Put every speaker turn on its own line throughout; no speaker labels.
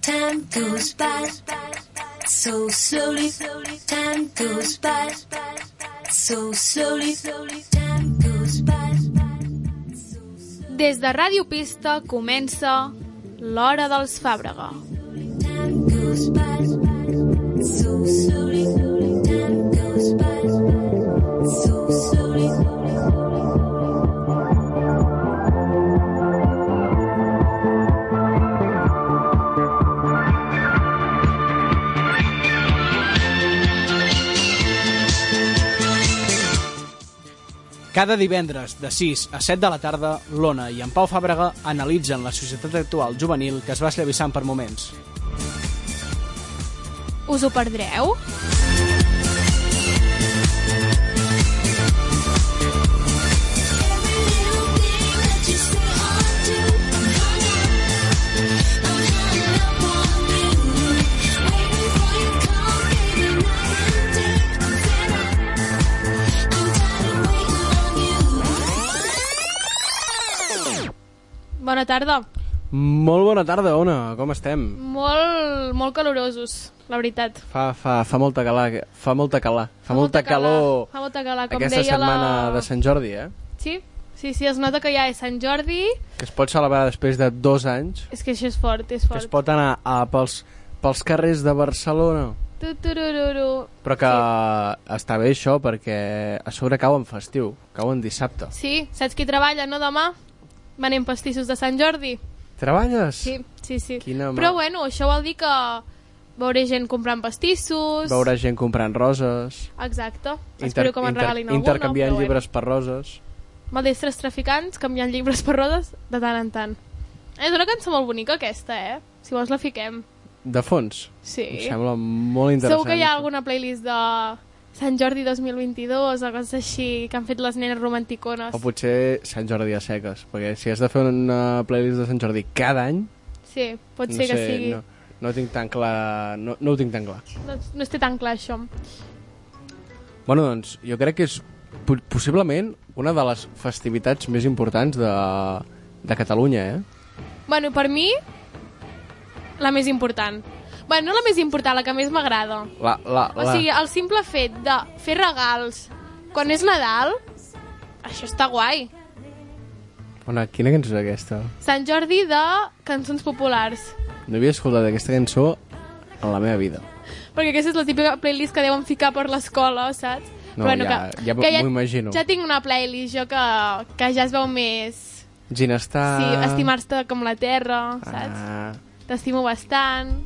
time goes by so slowly. Time goes by so slowly. Time goes by.
Des de Ràdio Pista comença l'Hora dels Fàbrega.
Time goes by so slowly. Time goes by so slowly.
Cada divendres, de 6 a 7 de la tarda, l'Ona i en Pau Fàbrega analitzen la societat actual juvenil que es va esllavissant per moments.
Us ho perdreu? Bona tarda.
Molt bona tarda, Ona. Com estem?
Molt, molt calorosos, la veritat.
Fa, fa, fa molta calor. Fa molta calor. Fa, molta calor
Fa molta calor, com
aquesta
deia
setmana
la...
de Sant Jordi, eh?
Sí? Sí, sí, es nota que ja és Sant Jordi.
Que es pot celebrar després de dos anys.
És que això és fort, és
Que es
fort.
pot anar a, pels, pels carrers de Barcelona.
Tu, tu, ru, ru, ru.
Però que sí. està bé això perquè a sobre cau en festiu, cau en dissabte.
Sí, saps qui treballa, no demà? Venem pastissos de Sant Jordi.
Treballes?
Sí, sí, sí.
Quina mà.
Però bueno, això vol dir que veuré gent comprant pastissos...
Veure gent comprant roses.
Exacte. Espero que me'n regalin alguna.
intercanviant
però
llibres per roses.
Bueno. Maldestres traficants canviant llibres per rodes de tant en tant. És una cançó molt bonica aquesta, eh? Si vols la fiquem.
De fons.
Sí.
Em sembla molt interessant.
Segur que hi ha alguna playlist de Sant Jordi 2022 o coses així que han fet les nenes romanticones.
O potser Sant Jordi a seques, perquè si has de fer una playlist de Sant Jordi cada any,
Sí, pot
no
ser
sé,
que sigui.
no, no, ho tinc tan clar, no, no ho tinc tan clar.
No, no es té tan clar això.
Bueno, doncs, jo crec que és po- possiblement una de les festivitats més importants de, de Catalunya, eh?
Bueno, per mi, la més important. Bueno, no la més important, la que més m'agrada.
La, la,
O
la...
sigui, el simple fet de fer regals quan és Nadal, això està guai.
Ona, quina cançó és aquesta?
Sant Jordi de cançons populars.
No havia escoltat aquesta cançó en la meva vida.
Perquè aquesta és la típica playlist que deuen ficar per l'escola, saps?
No, ja- ja m'ho imagino.
Ja tinc una playlist jo que, que ja es veu més...
Ginestar...
Sí, estimar-te com la terra, saps?
Ah,
T'estimo bastant.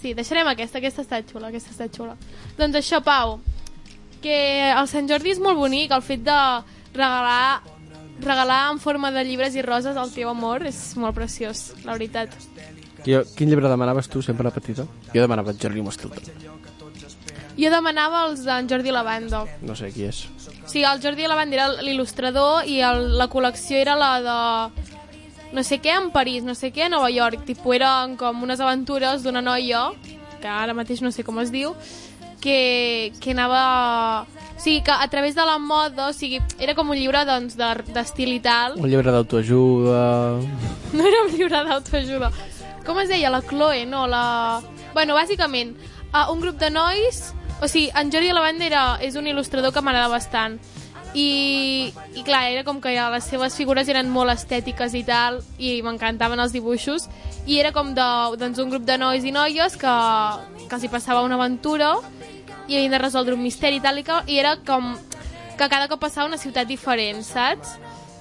Sí, deixarem aquesta, aquesta està xula, aquesta està xula. Doncs això, Pau, que el Sant Jordi és molt bonic, el fet de regalar regalar en forma de llibres i roses el teu amor és molt preciós, la veritat.
jo, quin llibre demanaves tu sempre a petita? Jo demanava Jordi Mostilton.
Jo demanava els d'en Jordi Lavanda.
No sé qui és.
Sí, el Jordi Lavanda era l'il·lustrador i el, la col·lecció era la de no sé què en París, no sé què a Nova York. Tipo, eren com unes aventures d'una noia, que ara mateix no sé com es diu, que, que anava... O sigui, que a través de la moda, o sigui, era com un llibre doncs, de- d'estil i tal.
Un llibre d'autoajuda...
No era un llibre d'autoajuda. Com es deia? La Chloe, no? La... Bueno, bàsicament, uh, un grup de nois... O sigui, en Jordi Lavanda era, és un il·lustrador que m'agrada bastant. I, I clar, era com que ja les seves figures eren molt estètiques i tal, i m'encantaven els dibuixos. I era com de, doncs, un grup de nois i noies que, que els hi passava una aventura i havien de resoldre un misteri i tal i que, i era com que cada cop passava a una ciutat diferent, saps?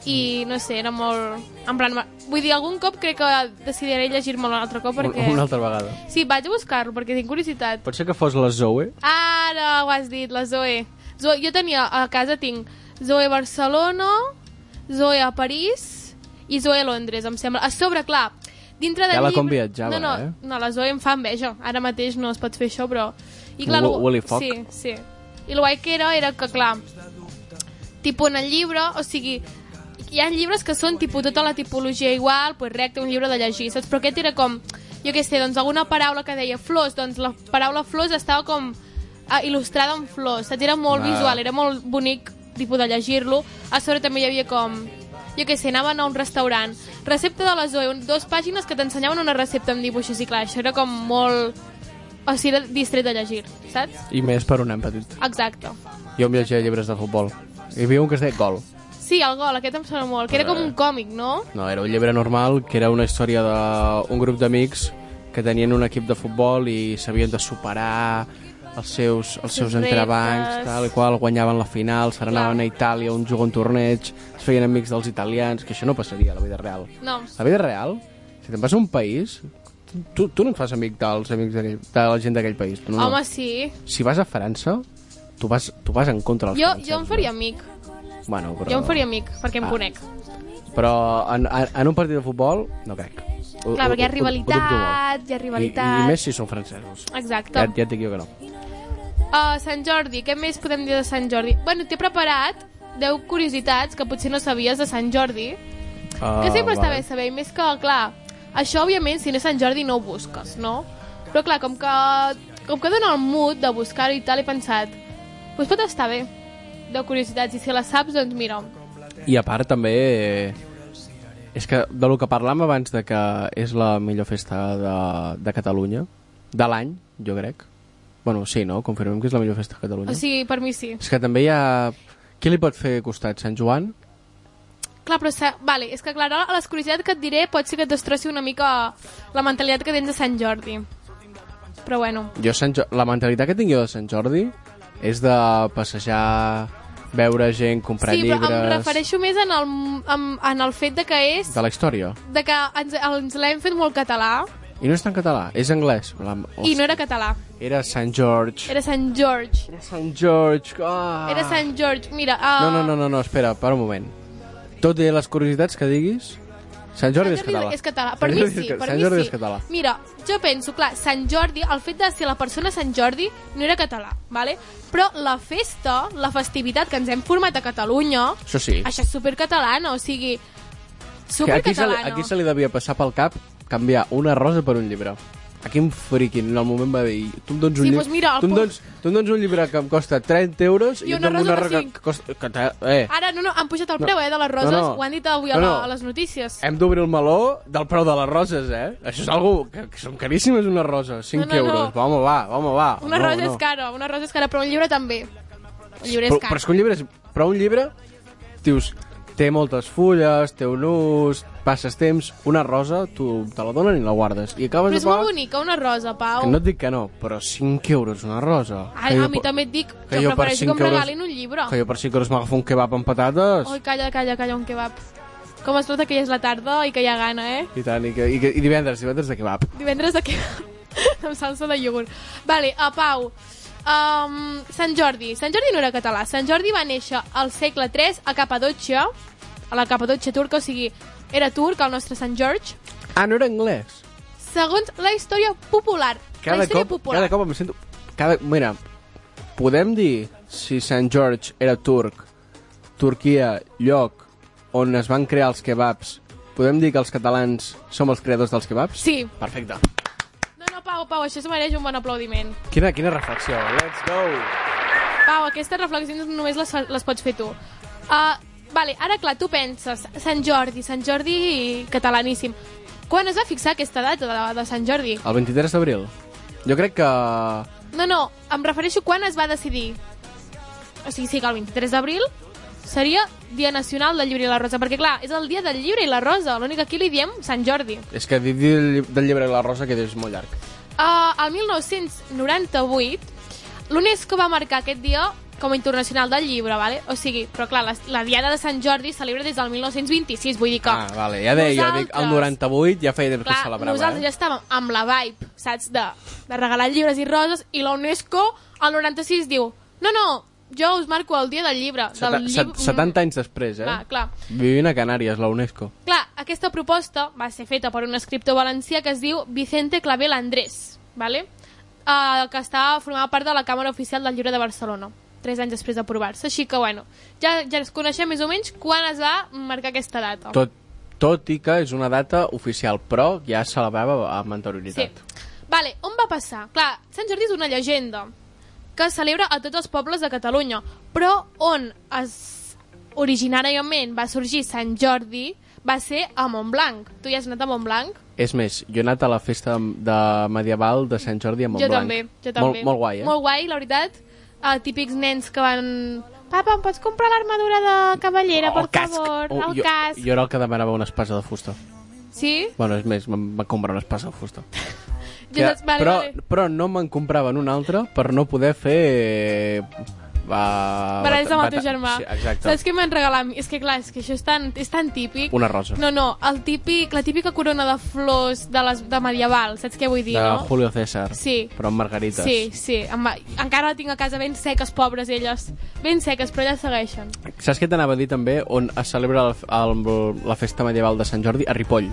i no sé, era molt... En plan, vull dir, algun cop crec que decidiré llegir-me un altre cop perquè...
Un, una altra vegada.
Sí, vaig a buscar-lo perquè tinc curiositat.
Pot ser que fos la Zoe?
Ara ho has dit, la Zoe. Zoe jo tenia, a casa tinc Zoe Barcelona, Zoe a París i Zoe a Londres, em sembla. A sobre, clar, dintre de
Ja la
llibre-
conviatjava,
no, no,
eh?
No, la Zoe em fa enveja. Ara mateix no es pot fer això, però... I clar,
Wo-
lo-
Willy Fogg.
Sí, sí. I el guai que era, era que, clar, tipus en el llibre, o sigui, hi ha llibres que són tipus tota la tipologia igual, pues recte, un llibre de llegir, saps? Però aquest era com, jo què sé, doncs alguna paraula que deia flors, doncs la paraula flors estava com ah, il·lustrada amb flors, saps? Era molt
Ah.
visual, era molt bonic tipus de llegir-lo. A sobre també hi havia com, jo què sé, anaven a un restaurant. Recepta de la Zoe, un- dues pàgines que t'ensenyaven una recepta amb dibuixos i clar, això era com molt... O sigui, era distret de llegir, saps?
I més per un nen petit.
Exacte.
Jo em llegia llibres de futbol. Hi havia un que es deia Gol.
Sí, el gol, aquest em sona molt, que era com un còmic, no?
No, era un llibre normal, que era una història d'un grup d'amics que tenien un equip de futbol i s'havien de superar els seus, els seus
Sus reptes.
entrebancs, tal i qual, guanyaven la final, se n'anaven
Clar.
a Itàlia, un jugó un torneig, es feien amics dels italians, que això no passaria a la vida real.
No.
A la vida real, si te'n vas a un país, tu, tu no et fas amic dels amics d'aquell- de la gent d'aquell país. Tu no.
Home, sí.
Si vas a França, tu vas, tu vas en contra dels
Jo,
francesos.
jo em faria amic.
no? Bueno, però...
Jo em faria amic, perquè em
Ah.
conec.
Però en, en, en un partit de futbol, no crec. Ho-
Clar,
ho-
perquè hi ha
ho- ho dubto molt.
rivalitat, hi ha
I, i
rivalitat...
més si són francesos. Ja,
Exacte.
ja et dic jo que no.
Uh, Sant Jordi, què més podem dir de Sant Jordi? Bueno, t'he preparat 10 curiositats que potser no sabies de Sant Jordi,
Uh,
que sempre està bé saber, i més que, clar, això, òbviament, si no és Sant Jordi no ho busques, no? Però, clar, com que, com que dona el mood de buscar-ho i tal, he pensat, doncs pot estar bé, 10 curiositats, i si les saps, doncs mira,
I a part també... eh, És que de lo que parlàvem abans de que és la millor festa de, de Catalunya, de l'any, jo crec. Bueno, sí, no? Confirmem que és la millor festa de Catalunya.
o sigui, per mi sí.
És que també hi ha... Qui li pot fer costat? Sant Joan?
Clar, però, sa- vale, és que, clar, ara les curiositats que et diré pot ser que et destrossi una mica la mentalitat que tens de Sant Jordi. Però, bueno,
Jo Sant jo... la mentalitat que tinc jo de Sant Jordi és de passejar, veure gent, comprar
sí,
llibres...
però em refereixo més en el, en, en el fet de que és
De la història.
de que ens, ens l'hem fet molt català
I no és tan català, és anglès. La...
i no era català,
Era Sant George.
era Sant George.
Era Sant George. Ah.
Era Sant George, mira... Uh,
No, no, no, no, no, espera, per un moment. Tot i les curiositats que diguis, Sant Jordi,
Sant Jordi
és català.
és català. Per
Sant
mi
Jordi
sí,
és ca-
per
Sant
mi
Jordi
sí.
és català.
Mira, jo penso, clar, Sant Jordi, el fet de ser la persona Sant Jordi no era català, vale? però la festa, la festivitat que ens hem format a Catalunya,
Això sí.
això és supercatalana, o sigui,
Que aquí, se li,
supercatalana.
aquí se li devia passar pel cap canviar una rosa per un llibre. A quin friqui en el moment va dir tu em dones un,
Sí,
llibre,
doncs mira, el
tu, em
Pol-
dones, tu em dones un llibre que em costa 30 euros
I
i, et
una
dono
rosa
una
per
rosa
cinc.
que costa... Que t'ha- eh,
Ara, no, no, han pujat el
No.
preu, eh, de les roses,
No, no.
ho han dit avui a,
No, Eh,
la,
no.
a les notícies.
Hem d'obrir el meló del preu de les roses, eh? Això és algo que, que són caríssimes unes roses, 5
No, no, no.
euros. Va, home, va, va, home, va.
Una
no,
rosa
no.
és cara, una rosa és cara, però un llibre també. Un llibre
Però,
és
però
car.
és que un llibre és... Però un llibre, dius, té moltes fulles, té un ús, passes temps, una rosa, tu te la donen i la guardes. I
Però
acabes de
és molt
pagar...
bonica, una rosa, Pau.
Que no et dic que no, però 5 euros una rosa.
Ara,
Que jo
a mi
per-
també et dic,
que
jo,
jo per
prefereixo que
cinc
em
euros-
regalin un llibre.
Que jo per 5 euros m'agafo un kebab amb patates.
Ai, calla, calla, calla, un kebab. Com es nota que ja és la tarda i que hi ha gana, eh?
I tant, i, que, i, que, i divendres, divendres de kebab.
Divendres de kebab amb salsa de iogurt. Vale, a Pau. Um, Sant Jordi. Sant Jordi no era català. Sant Jordi va néixer al segle III a Capadotxa, a la Capadotxa turca, o sigui, era turc, el nostre Sant George,
Ah, no era anglès.
segons la història popular. la
Cada
història
cop,
popular.
cada cop em sento... Cada, mira, podem dir si Sant George era turc, Turquia, lloc on es van crear els kebabs, podem dir que els catalans som els creadors dels kebabs?
Sí.
Perfecte.
No, no, Pau, Pau, això es mereix un bon aplaudiment.
Quina, quina reflexió. Let's go.
Pau, aquestes reflexions només les, les pots fer tu. Uh, vale, ara, clar, tu penses, Sant Jordi, Sant Jordi catalaníssim. Quan es va fixar aquesta data de, de Sant Jordi?
El 23 d'abril. Jo crec que...
No, no, em refereixo quan es va decidir. O sigui, sí que el 23 d'abril seria Dia Nacional del Llibre i la Rosa, perquè, clar, és el dia del llibre i la rosa, l'únic que aquí li diem Sant Jordi. Eh,
És que dir dir del llibre de la rosa que és molt llarg.
Uh, el 1998, l'UNESCO va marcar aquest dia com a internacional del llibre, vale? o sigui, però clar, la, la Diada de Sant Jordi es celebra des del 1926, vull dir que...
Ah, vale, ja deia,
nosaltres-
dic, el 98 ja feia temps que
clar,
es celebrava.
nosaltres ja
Eh?
estàvem amb la vibe, saps, de, de regalar llibres i roses, i la UNESCO al 96 diu, no, no, jo us marco el dia del llibre.
Seta,
del
set, 70 anys després, eh?
Clar, clar.
Vivint a Canàries, la UNESCO.
Mm. Clar, aquesta proposta va ser feta per un escriptor valencià que es diu Vicente Clavel Andrés, ¿vale? Uh, que està formava part de la Càmera Oficial del Llibre de Barcelona, tres anys després d'aprovar-se. Així que, bueno, ja, ja es coneixem més o menys quan es va marcar aquesta data.
Tot, tot i que és una data oficial, però ja es celebrava amb
Sí.
anterioritat.
Vale, on va passar? Clar, Sant Jordi és una llegenda que es celebra a tots els pobles de Catalunya, però on es originàriament va sorgir Sant Jordi va ser a Montblanc. Tu ja has anat a Montblanc?
És més, jo he anat a la festa de medieval de Sant Jordi a Montblanc.
Jo també, jo també.
Molt, molt guai, eh?
Molt guai, la veritat. Uh, típics nens que van... Papa, em pots comprar l'armadura de cavallera, per favor?
Oh,
el
jo,
casc.
Jo era el que demanava una espasa de fusta.
Sí?
Bueno, és més, me'n va comprar una espasa de fusta.
Jo saps- vale,
però,
vale.
però no me'n compraven una altra per no poder fer... eh, Va...
Baralles amb el
Ah, bata-
teu germà.
Sí, exacte.
Saps què m'han regalat? a mi? És que clar, és que això és tan, és tan típic.
Una rosa.
No, no, el típic, la típica corona de flors de, les, de medieval, saps què vull dir,
de
no?
Julio César.
Sí.
Però amb margarites.
Sí, sí. Em va... Encara la tinc a casa ben seques, pobres elles. Ben seques, però elles segueixen.
Saps què t'anava a dir també? On es celebra el, el, la festa medieval de Sant Jordi? A Ripoll.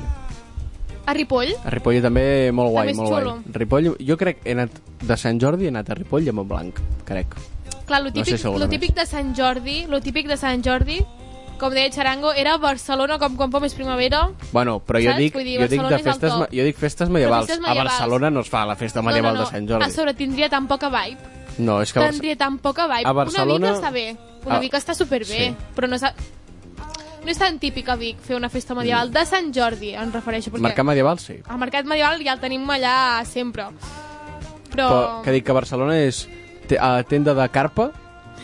A Ripoll?
A Ripoll també molt guai,
També és
molt
xulo.
guai. Ripoll, jo crec, he anat de Sant Jordi, he anat a Ripoll i a Montblanc, crec.
Clar, lo
No sé
típic,
si algun
lo
més.
típic de Sant Jordi, lo típic de Sant Jordi, com deia Charango, era Barcelona com com més primavera.
Bueno, però jo
Saps?
dic,
Vull dir,
jo dic
Barcelona
de
és el
festes,
top.
me- jo dic festes medievals.
festes
A
medievals.
Barcelona no es fa la festa medieval de Sant
A
Jordi.
sobre tindria tan poca vibe.
No, és que a Barce-
Tindria tan poca vibe.
a Barcelona-
Una Vic està bé. Una
a-
Vic està superbé.
sí.
Però no, s'ha- no és tan típic a Vic fer una festa medieval.
Mm.
De Sant Jordi, em refereixo. Perquè
mercat medieval sí.
el mercat medieval ja el tenim allà sempre. Però...
Però que dic que Barcelona és te- a tenda de carpa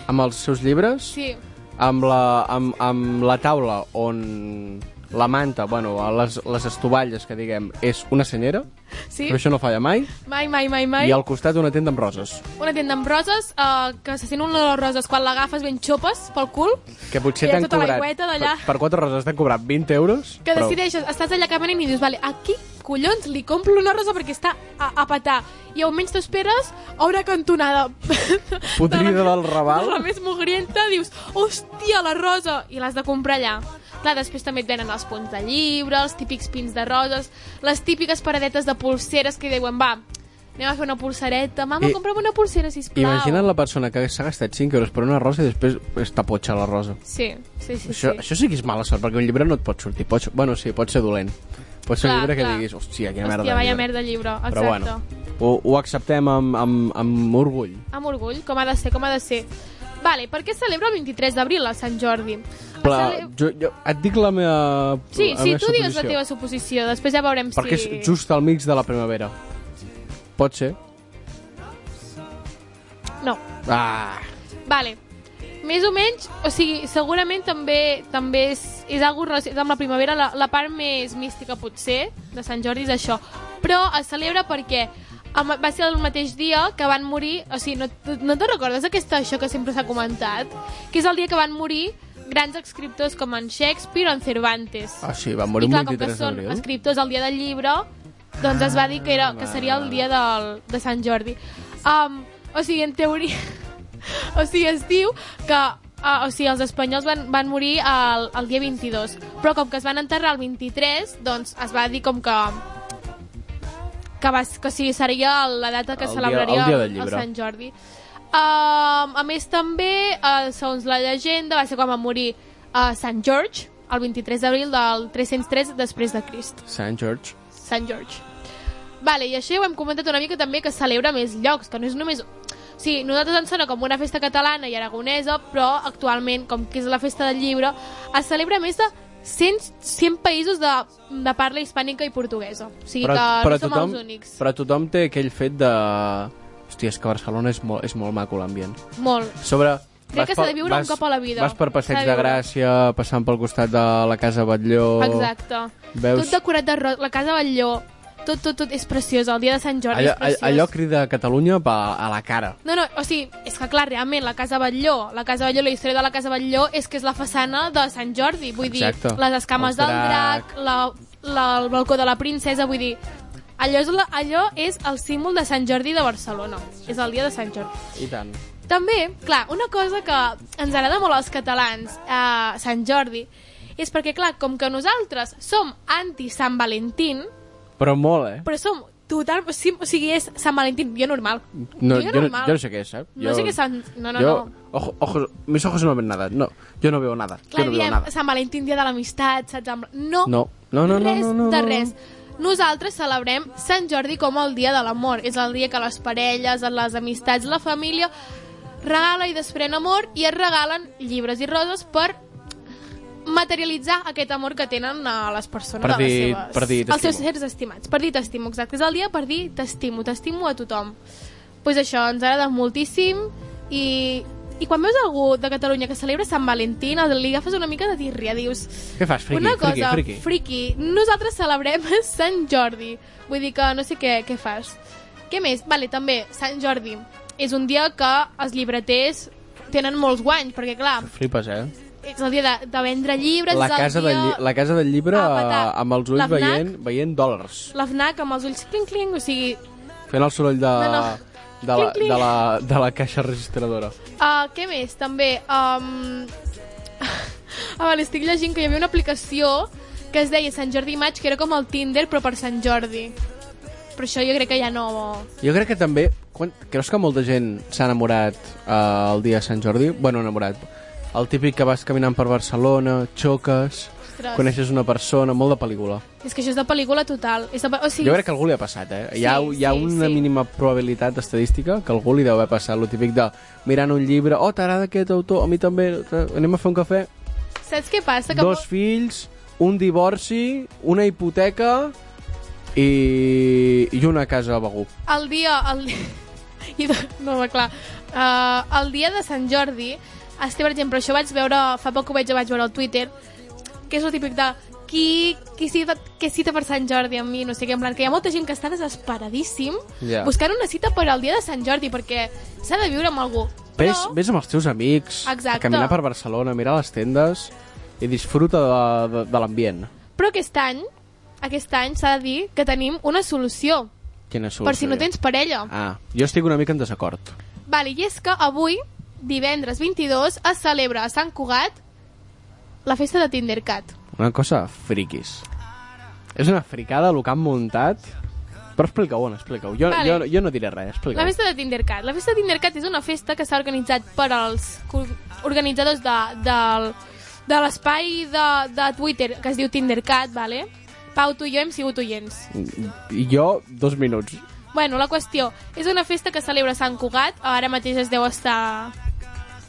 amb els seus llibres,
Sí.
amb la, amb, amb la taula on la manta, bueno, les, les estovalles que diguem, és una senyera,
Sí?
però això no falla mai,
Mai, mai, mai, mai.
i al costat una tenda amb roses.
Una tenda amb roses, eh, que se sent un olor a roses quan l'agafes ben xopes pel cul,
Que
Hi
potser
ha
t'han
tota
cobrat...
l'aigüeta
Per,
d'allà.
per quatre roses t'han cobrat 20 euros.
que decideixes, estàs allà caminant i dius, vale, aquí, collons, li compro una rosa perquè està a, a petar. I almenys t'esperes a una cantonada.
Podrida
de la-
del Raval.
de La més mugrienta, dius, hòstia, la rosa! I l'has de comprar allà. Clar, després també et venen els punts de llibre, els típics pins de roses, les típiques paradetes de pulseres que diuen, va, anem a fer una pulsereta. Mama,
I-
compra'm una pulsera, sisplau.
Imagina't la persona que s'ha gastat 5 euros per una rosa i després està potxa la rosa.
Sí, sí, sí.
Això,
sí.
això sí que és mala sort, perquè un llibre no et pot sortir. Pot, bueno, sí, pot ser dolent. Pot ser
Clar,
un llibre que
clar.
diguis, hòstia, quina merda.
Hòstia,
de
vaya
llibre."
merda llibre, exacte.
Però bueno, ho, ho acceptem amb, amb, amb orgull.
Amb orgull, com ha de ser, com ha de ser. Vale, per què es celebra el 23 d'abril a Sant Jordi? Es
Però
cele-
jo, jo et dic la meva
Sí,
la
sí,
meva
tu digues la
suposició.
teva suposició, després ja veurem
Perquè
si...
és just al mig de la primavera. Pot ser.
No,
Ah,
vale. Més o menys, o sigui, segurament també també és, és algo relacionat amb la primavera, la, la part més mística potser de Sant Jordi és això. Però es celebra perquè amb- va ser el mateix dia que van morir, o sigui, no, t- no te'n recordes aquesta, això que sempre s'ha comentat? Que és el dia que van morir grans escriptors com en Shakespeare o en Cervantes.
ah sí, va
I
morir un
clar, com que
23
són
d'abril.
escriptors el dia del llibre, doncs es va dir que, era, que seria el dia del, de Sant Jordi. Um, o sigui, en teoria... o sigui, es diu que uh, o sigui, els espanyols van, van morir el, el dia 22, però com que es van enterrar el 23, doncs es va dir com que que, va, que o sigui, seria la data que
El dia-
celebraria
el dia del
el
llibre.
Sant Jordi. Um, a més, també, uh, segons la llegenda, va ser quan va morir a Sant George, el 23 d'abril del 303 després de Crist.
Sant George.
Sant George. Vale, i això ja ho hem comentat una mica també que celebra més llocs, que no és només... Sí, nosaltres ens sona com una festa catalana i aragonesa, però actualment, com que és la festa del llibre, es celebra a més de 100, 100 països de, de parla hispànica i portuguesa. O sigui que no som
tothom,
els únics.
però tothom té aquell fet de... Hòstia, és que Barcelona és molt, és molt maco l'ambient.
Molt.
Sobre...
Crec que
vas
s'ha de
pel-
viure un cop a la vida.
Vas per Passeig
S'ha de
de
viure.
Gràcia, passant pel costat de la Casa Batlló...
Exacte.
Oh, Veus-
Tot decorat de ro... la casa Batlló, tot, tot, tot és preciós, el dia de Sant Jordi
Allò,
és
all-
preciós.
allò crida Catalunya pa, a la cara.
No, no, o sigui, és que clar, realment, la Casa Batlló, la Casa Batlló, la història de la Casa Batlló és que és la façana de Sant Jordi, vull
Exacte.
dir, les escames
El
del drac,
drac.
la, la, el balcó de la princesa, vull dir, allò és, la, allò és el símbol de Sant Jordi de Barcelona, és el dia de Sant Jordi.
I tant.
També, clar, una cosa que ens agrada molt als catalans a Sant Jordi és perquè, clar, com que nosaltres som anti-Sant Valentín,
Però molt, eh?
però som total... O sigui, o sigui, és Sant Valentí, dia normal.
No,
dia
jo, no,
normal.
jo no sé què és, eh?
No sé què Sant... No, no,
jo,
no.
Ojo, ojo, mis ojos no ven nada. No, jo no veo nada.
Clar,
jo no veo
diem
nada.
Sant Valentín, dia de l'amistat, saps? Amb- No,
No. No, no, no,
res
no, no, no,
de
no.
res. Nosaltres celebrem Sant Jordi com el dia de l'amor. És el dia que les parelles, les amistats, la família regala i desprèn amor i es regalen llibres i roses per materialitzar aquest amor que tenen a les persones
Per
a les
dir-
seves,
per dir
els seus
t'estimo.
sers estimats per dir t'estimo, exacte, és el dia per dir t'estimo t'estimo a tothom pues això, ens agrada moltíssim i, i quan veus algú de Catalunya que celebra Sant Valentín, el- li agafes una mica de tirria, dius
Què fas, friqui?
una
friqui,
cosa,
friqui.
friki, nosaltres celebrem Sant Jordi. Vull dir que no sé què, què fas. Què més? Vale, també, Sant Jordi. És un dia que els llibreters tenen molts guanys, perquè clar,
Flipes, eh?
és el dia de, de vendre llibres,
La
és el
casa,
dia...
del, lli- la casa del llibre
Ah, petar.
eh, amb els ulls
L'FNAC.
veient, veient dòlars.
L'AFNAC amb els ulls clinc clinc, o sigui,
Fent el soroll de,
No, no.
de, la,
Clinc, clinc.
de, la, de la caixa registradora.
Uh, què més? També... Um... ah, vale, estic llegint que hi havia una aplicació que es deia Sant Jordi Maig, que era com el Tinder, però per Sant Jordi. Però això jo crec que ja no...
Jo crec que també... Quan, creus que molta gent s'ha enamorat eh, el dia de Sant Jordi? Bueno, enamorat. El típic que vas caminant per Barcelona, xoques,
Ostres.
coneixes una persona, molt de pel·lícula.
És que això és de pel·lícula total. És de... pe- O sigui,
Jo crec que a algú li ha passat, eh? Hi ha,
Sí,
hi ha
sí,
una
sí.
mínima probabilitat estadística que algú li deu haver passat. Lo típic de mirant un llibre, oh, t'agrada aquest autor, a mi també, eh, anem a fer un cafè.
Saps què passa? Que
Dos
mol-
fills, un divorci, una hipoteca i, i una casa a Begur.
el dia... El... di- I de... No, va, clar. Uh, el dia de Sant Jordi, es té, per exemple, això vaig veure, fa poc ho vaig, vaig veure al Twitter, que és el típic de qui, qui, cita, qui cita per Sant Jordi amb mi, no sé què, en plan, que hi ha molta gent que està desesperadíssim
Ja.
buscant una cita per al dia de Sant Jordi, perquè s'ha de viure amb algú. Però,
Ves, ves amb els teus amics,
Exacte.
a caminar per Barcelona, mirar les tendes i disfruta de, de, de l'ambient.
però aquest any, aquest any s'ha de dir que tenim una solució,
Quina solució.
per si no tens parella.
Ah, jo estic una mica en desacord.
Vale, i és que avui, divendres 22, es celebra a Sant Cugat la festa de Tindercat.
Una cosa friquis. És una fricada el que han muntat. Però explica-ho, Anna, explica-ho. Jo,
Vale.
jo, jo no diré res,
La
explica-ho.
festa de Tindercat. La festa de Tindercat és una festa que s'ha organitzat per als co- organitzadors de, del de l'espai de, de Twitter que es diu Tindercat, vale? Pau, tu i jo hem sigut oients.
I Jo, dos minuts.
Bueno, la qüestió, és una festa que celebra Sant Cugat, ara mateix es deu estar,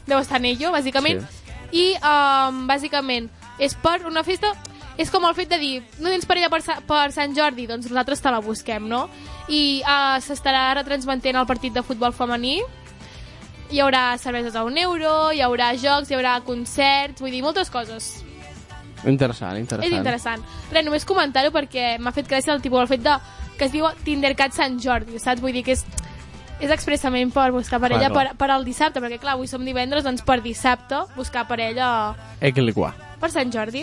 deu estar en ello, bàsicament, sí. i um, bàsicament és per una festa... És com el fet de dir, no tens parella per, Sa per Sant Jordi, doncs nosaltres te la busquem, no? I uh, s'estarà retransmetent el partit de futbol femení, hi haurà cerveses a un euro, hi haurà jocs, hi haurà concerts, vull dir, moltes coses.
Interessant, interessant.
És interessant. Res, només comentar-ho perquè m'ha fet gràcia el tipus, el fet de, que es diu Tindercat Sant Jordi, saps? Vull dir que és, és expressament per buscar parella
Clar, clar.
per, per al dissabte, perquè clar, avui som divendres, doncs per dissabte buscar parella
Equiliquar.
per Sant Jordi.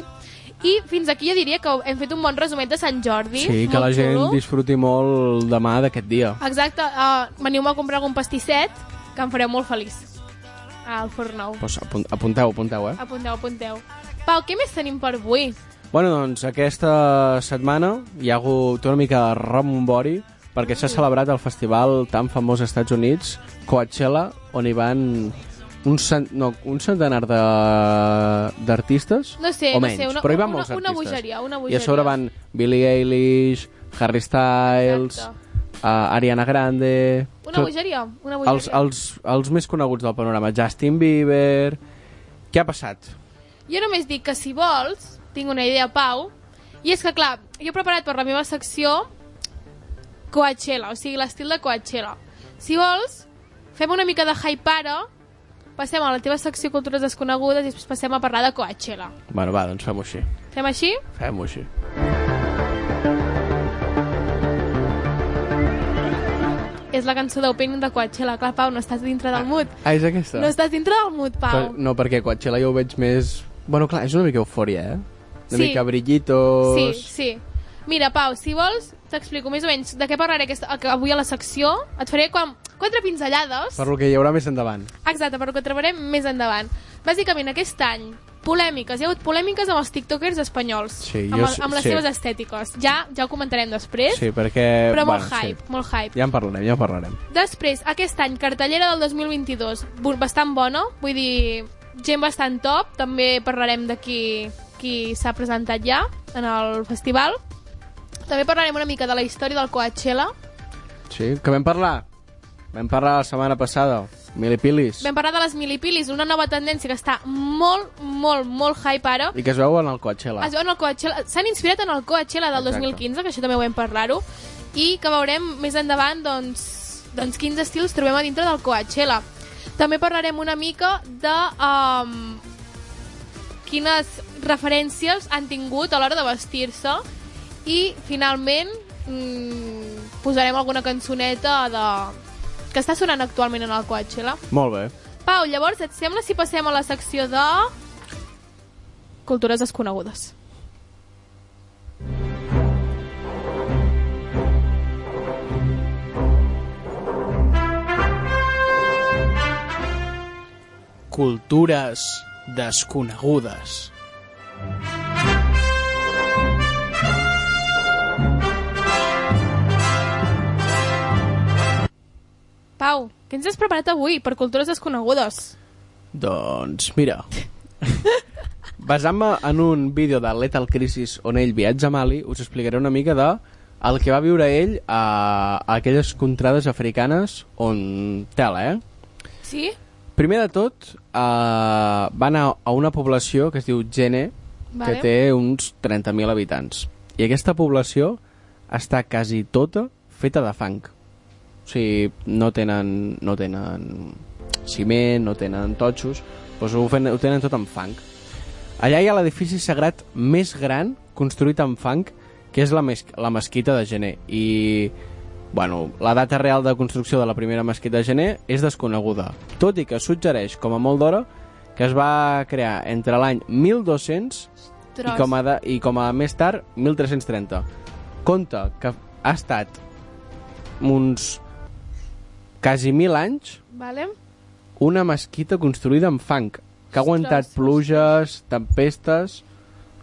I fins aquí jo diria que hem fet un bon resumet de Sant Jordi.
Sí, que
molt
la gent
xulo.
disfruti molt demà d'aquest dia.
Exacte, uh, veniu-me a comprar algun pastisset, que em fareu molt feliç. Al Fornou.
Pues apun- apunteu, apunteu, eh?
Apunteu, apunteu. Pau, què més tenim per avui?
Bueno, doncs aquesta setmana hi ha hagut una mica de rebombori perquè
Mm.
s'ha celebrat el festival tan famós als Estats Units, Coachella, on hi van un, cent, no, un centenar de- d'artistes,
No sé,
o
no
menys,
sé, una-
però hi van
una-
molts
una
artistes.
bogeria, una
I a sobre
bogeria.
van Billie Eilish, Harry Styles, uh, Ariana Grande...
Una bogeria? Una bogeria.
els, els, els més coneguts del panorama, Justin Bieber... Què ha passat?
Jo només dic que si vols, tinc una idea, Pau, i és que, clar, jo he preparat per la meva secció Coachella, o sigui, l'estil de Coachella. Si vols, fem una mica de hype-ara, passem a la teva secció Cultures Desconegudes i després passem a parlar de Coachella.
Bueno, va, doncs fem-ho així.
Fem així?
Fem-ho així.
És la cançó d'Opening de Coachella. Clar, Pau, no estàs dintre del mood.
Ah, és aquesta?
No estàs dintre del mood, Pau.
Per- No, perquè Coachella jo ho veig més... Bueno, clar, és una mica eufòria, eh? Una
Sí.
mica brillitos...
Sí, sí. Mira, Pau, si vols, t'explico més o menys de què parlaré aquesta, avui a la secció. Et faré com quatre pinzellades.
Per lo que hi haurà més endavant.
Exacte, però que trobarem més endavant. Bàsicament, aquest any, polèmiques. Hi ha hagut polèmiques amb els tiktokers espanyols.
Sí,
amb,
jo
el-
sí-
amb les
sí.
seves estètiques. Ja ja ho comentarem després,
Sí, perquè...
però molt
bueno,
hype, molt hype.
Sí. Ja en parlarem, ja en parlarem.
Després, aquest any, cartellera del 2022, bo- bastant bona, vull dir, gent bastant top, també parlarem de qui, qui s'ha presentat ja en el festival. També parlarem una mica de la història del Coachella,
Sí, que vam parlar... Vam parlar la setmana passada Milipilis.
Vam parlar de les milipilis, una nova tendència que està molt, molt, molt hype ara.
I que es veuen al Coachella.
Es veuen al Coachella. S'han inspirat en el Coachella del
Exacte.
2015, que això també ho vam parlar-ho, i que veurem més endavant doncs, doncs quins estils trobem a dintre del Coachella. També parlarem una mica de um, quines referències han tingut a l'hora de vestir-se i, finalment, mm, posarem alguna cançoneta de... que està sonant actualment en el Coachella.
Molt bé.
Pau, llavors, et sembla si passem a la secció de... Cultures desconegudes.
Cultures desconegudes.
Pau, què ens has preparat avui per cultures desconegudes?
Doncs mira, basant-me en un vídeo de Lethal Crisis on ell viatja a Mali, us explicaré una mica de el que va viure ell a, a aquelles contrades africanes on tela, eh?
Sí?
Primer de tot, eh, va anar a una població que es diu Gene, vale.
Vale.
que té uns 30.000 habitants. I aquesta població està quasi tota feta de fang. O sigui, no tenen, no tenen ciment, no tenen totxos, doncs ho, fen, ho tenen tot en fang. Allà hi ha l'edifici sagrat més gran construït en fang, que és la, mes la mesquita de Gener. I, bueno, la data real de construcció de la primera mesquita de Gener és desconeguda, tot i que suggereix, com a molt d'hora, que es va crear entre l'any 1200 i com, a de, i com a més tard, 1330. Compte que ha estat uns quasi mil anys
Vale.
una mesquita construïda amb fang que ha aguantat
ostres.
pluges, tempestes...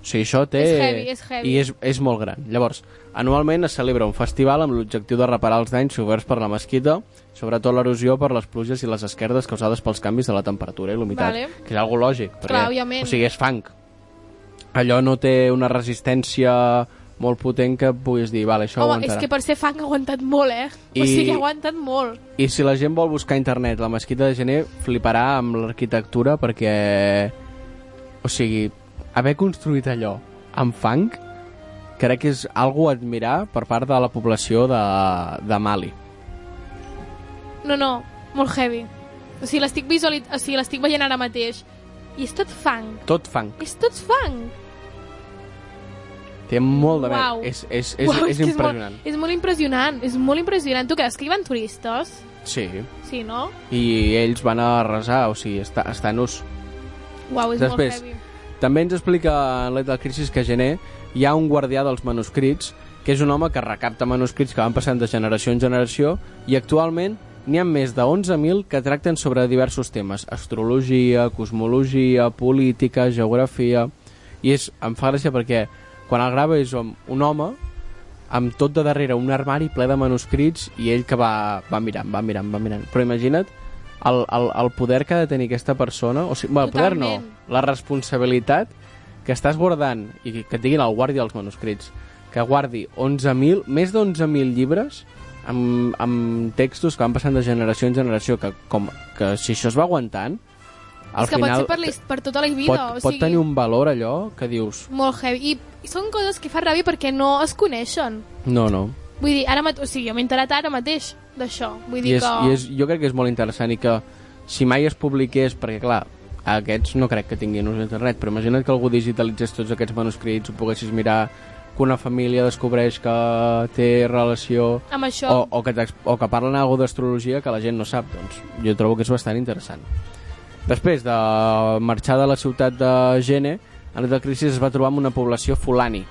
O sigui, això té...
És heavy, és heavy.
I és, és molt gran. Llavors, anualment es celebra un festival amb l'objectiu de reparar els danys soferts per la mesquita, sobretot l'erosió per les pluges i les esquerdes causades pels canvis de la temperatura i l'humitat,
Vale.
que és algo lògic, perquè,
Clar, òbviament.
o sigui, és fang. Allò no té una resistència molt potent que puguis dir, vale, això
Home, és
aguantarà.
que per ser fan ha aguantat molt, eh? I...
I-
O sigui, ha aguantat molt.
I si la gent vol buscar a internet la mesquita de gener, fliparà amb l'arquitectura perquè... O sigui, haver construït allò amb fang crec que és algo a admirar per part de la població de, de Mali.
No, no, molt heavy. O sigui, l'estic visualit... o sigui, l'estic veient ara mateix. I és tot fang.
Tot fang.
És tot fang.
Té molt de
Uau.
mèrit. És, és, és,
Uau,
és,
que
impressionant.
És molt, és molt impressionant, és molt impressionant. Tu creus que hi van turistes?
Sí.
Sí, no?
I ells van a resar, o sigui, està, està en ús.
Uau, és
Després,
molt heavy.
També ens explica en Lethal Crisis que a Gener hi ha un guardià dels manuscrits, que és un home que recapta manuscrits que van passant de generació en generació, i actualment n'hi ha més de 11.000 que tracten sobre diversos temes, astrologia, cosmologia, política, geografia... I és, em fa gràcia perquè quan el grava és un un home amb tot de darrere un armari ple de manuscrits i ell que va, va mirant, va mirant, va mirant. Però imagina't el, el, el poder que ha de tenir aquesta persona, o sigui, bueno, el poder no,
Totalment.
la responsabilitat que estàs guardant, i que- que et diguin el guàrdia dels manuscrits, que guardi 11.000, més d'11.000 llibres amb, amb textos que van passant de generació en generació, que, com, que si això es va aguantant, al
és que
final
pot ser per, la, his- per tota la vida.
pot,
o sigui...
pot tenir un valor allò que dius,
Molt heavy. I, I són coses que fa ràbia perquè no es coneixen.
no, no,
Vull dir, ara mat... o sigui, jo m'he enterat ara mateix d'això. Vull
I
dir
és,
que...
i és, jo crec que és molt interessant i que si mai es publiqués, perquè clar, aquests no crec que tinguin ús a internet, però imagina't que algú digitalitzés tots aquests manuscrits, ho poguessis mirar, que una família descobreix que té relació...
Amb això...
O, o, que t'ex- o que parlen alguna d'astrologia que la gent no sap, doncs jo trobo que és bastant interessant. Després de marxar de la ciutat de Gene, en la crisi es va trobar amb una població fulani.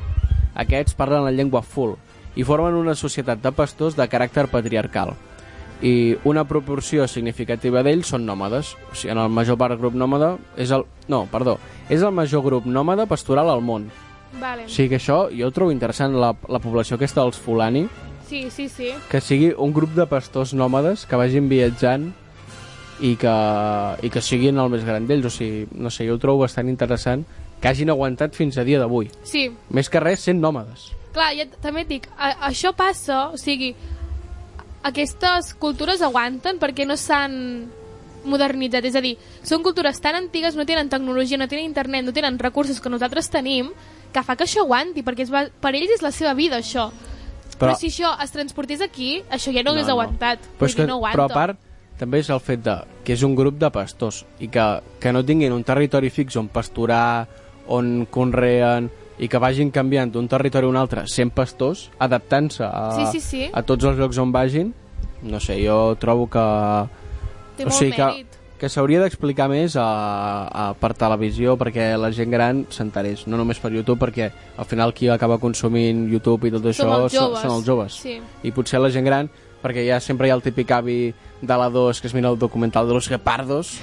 Aquests parlen la llengua ful i formen una societat de pastors de caràcter patriarcal. I una proporció significativa d'ells són nòmades. O sigui, en el major part grup nòmada és el... No, perdó. És el major grup nòmada pastoral al món.
Vale.
O sigui que això jo trobo interessant la, la població aquesta dels fulani,
sí, sí, sí.
que sigui un grup de pastors nòmades que vagin viatjant i que, i que siguin el més gran d'ells. O sigui, no sé, jo ho trobo bastant interessant que hagin aguantat fins a dia d'avui.
Sí,
Més que res, sent nòmades.
clar, ja t- també et dic, a, això passa, o sigui, aquestes cultures aguanten perquè no s'han modernitzat. És a dir, són cultures tan antigues, no tenen tecnologia, no tenen internet, no tenen recursos que nosaltres tenim, que fa que això aguanti, perquè es va, per ells és la seva vida, això. Però,
Però-
però si això es transportés aquí, això ja no, no hagués
No, no.
aguantat.
Però, és que,
no
però a part, també és el fet de, que és un grup de pastors i que, que no tinguin un territori fix on pasturar, on conreen i que vagin canviant d'un territori a un altre sent pastors, adaptant-se a,
Sí, sí, sí.
a tots els llocs on vagin no sé, jo trobo que
Té
o
molt
sigui que,
mèrit.
que s'hauria d'explicar més a, a, per televisió perquè la gent gran s'enterés, no només per YouTube perquè al final qui acaba consumint YouTube i tot això
Som els
són,
joves.
són els joves
Sí.
i potser la gent gran, perquè ja sempre hi ha el típic avi de la 2 que es mira el documental de los guepardos,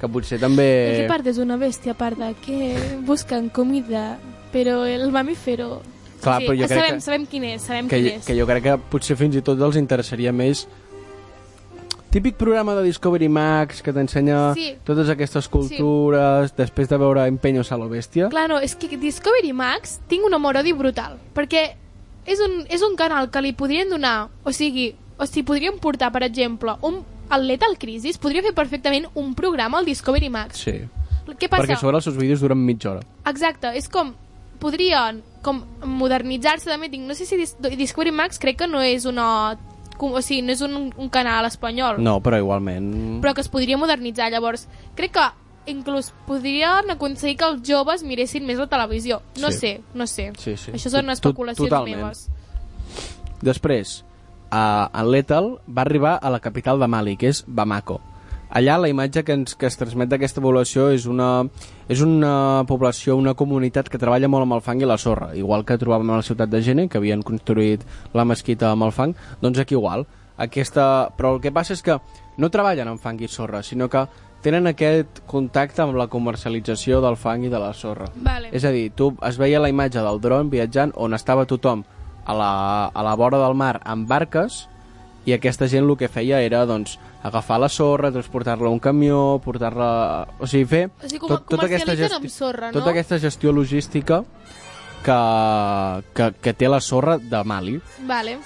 que potser
Eh...
també...
part és una bèstia parda que busquen comida, però el mamífero...
Clar, però jo crec
sabem,
que-
sabem quin és, sabem
Que,
quin
jo-
és.
que jo crec que potser fins i tot els interessaria més típic programa de Discovery Max que t'ensenya
Sí.
totes aquestes cultures després de veure Empeños a lo bèstia
Clar, no, és que Discovery Max tinc un amor-odi brutal, perquè és un, és un canal que li podrien donar, o sigui, o sigui, podrien portar, per exemple, un el Lethal Crisis podria fer perfectament un programa al Discovery Max.
sí,
Què passa?
perquè sobre els seus vídeos duren mitja hora
Exacte, és com podrien com modernitzar-se també, tinc, no sé si Dis- Discovery Max crec que no és una com- o sigui, no és un, un canal espanyol
no, però igualment
però que es podria modernitzar. Llavors, crec que inclús podrien aconseguir que els joves miressin més la televisió. No
Sí.
sí. sé, no sé.
Sí, sí.
Això són
To- to-
especulacions
totalment.
meves.
Després, a, en Lethal va arribar a la capital de Mali, que és Bamako. Allà la imatge que, ens, que es transmet d'aquesta població és una, és una població, una comunitat que treballa molt amb el fang i la sorra. Igual que trobàvem a la ciutat de Gene, que havien construït la mesquita amb el fang, doncs aquí igual. Aquesta... Però el que passa és que no treballen amb fang i sorra, sinó que tenen aquest contacte amb la comercialització del fang i de la sorra.
Vale.
És a dir, tu es veia la imatge del dron viatjant on estava tothom a la, a la vora del mar amb barques i aquesta gent el que feia era doncs, agafar la sorra, transportar-la a un camió, portar-la... O sigui, fer...
O sigui, com- comercialitzen amb sorra, no?
Tota aquesta gestió logística que, que, que té la sorra de Mali.
Vale.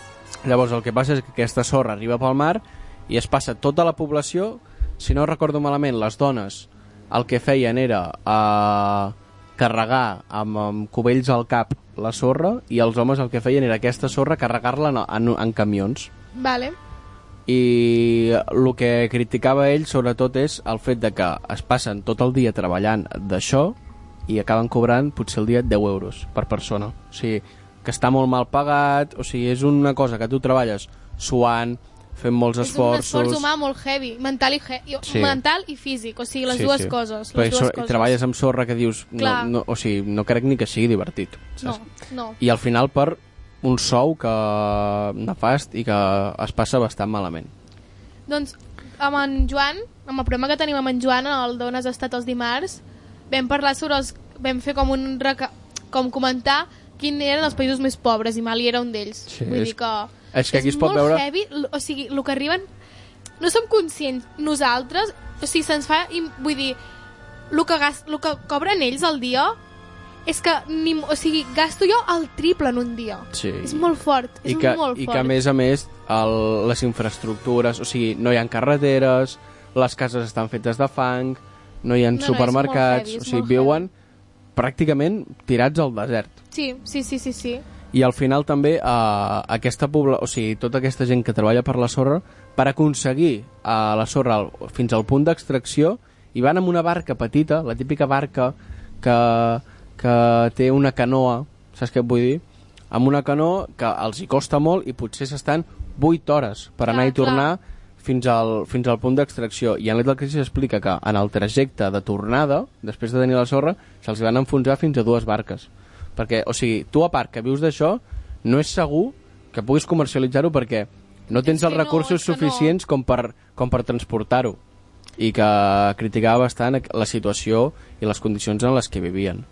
Llavors el que passa és que aquesta sorra arriba pel mar i es passa tota la població, si no recordo malament, les dones el que feien era eh, carregar amb, amb cubells al cap la sorra i els homes el que feien era aquesta sorra carregar-la en, en, en camions
Vale.
i el que criticava ell sobretot és el fet de que es passen tot el dia treballant d'això i acaben cobrant potser el dia 10 euros per persona o sigui, que està molt mal pagat o sigui, és una cosa que tu treballes suant, fent molts
És un
esforços
esforç humà molt heavy, mental i, he i-
Sí.
mental i físic, o sigui, les
Sí,
dues
sí.
coses.
Però
Les
i
dues
sobre-
coses.
i treballes amb sorra que dius no,
Clar.
no, o sigui, no crec ni que sigui divertit
No,
saps?
no.
i al final per un sou que nefast i que es passa bastant malament
Doncs amb en Joan, amb el programa que tenim amb en Joan, el d'on has estat els dimarts, vam parlar sobre els... vam fer com un... Reca... com comentar quin eren els països més pobres i Mali era un d'ells.
Sí,
Vull
és-
dir que...
és que aquí es pot
molt
veure-
heavy, l- o sigui, el que arriben... No som conscients nosaltres, o sigui, se'ns fa... im- Vull dir, el que, gas... el que cobren ells al dia és que ni... o sigui, gasto jo el triple en un dia.
Sí.
És molt fort, és
I que,
molt
I
fort.
que, a més a més, el, les infraestructures, o sigui, no hi ha carreteres, les cases estan fetes de fang, no hi ha
No, no, és molt
supermercats,
heavy, és
o sigui,
molt
viuen pràcticament tirats al desert.
Sí, sí, sí, sí, sí.
I al final també eh, aquesta pobla, o sigui, tota aquesta gent que treballa per la sorra, per aconseguir eh, la sorra al, fins al punt d'extracció, hi van amb una barca petita, la típica barca que, que té una canoa, saps què et vull dir? Amb una canoa que els hi costa molt i potser s'estan 8 hores per
Clar,
anar i
clar.
tornar fins al, fins al punt d'extracció. I en l'Etal Crisi explica que en el trajecte de tornada, després de tenir la sorra, se'ls van enfonsar fins a dues barques. Perquè, o sigui, tu a part que vius d'això, no és segur que puguis comercialitzar-ho perquè no tens
que
els
no,
recursos
és que no.
suficients com per, com per transportar-ho i que criticava bastant la situació i les condicions en les que vivien.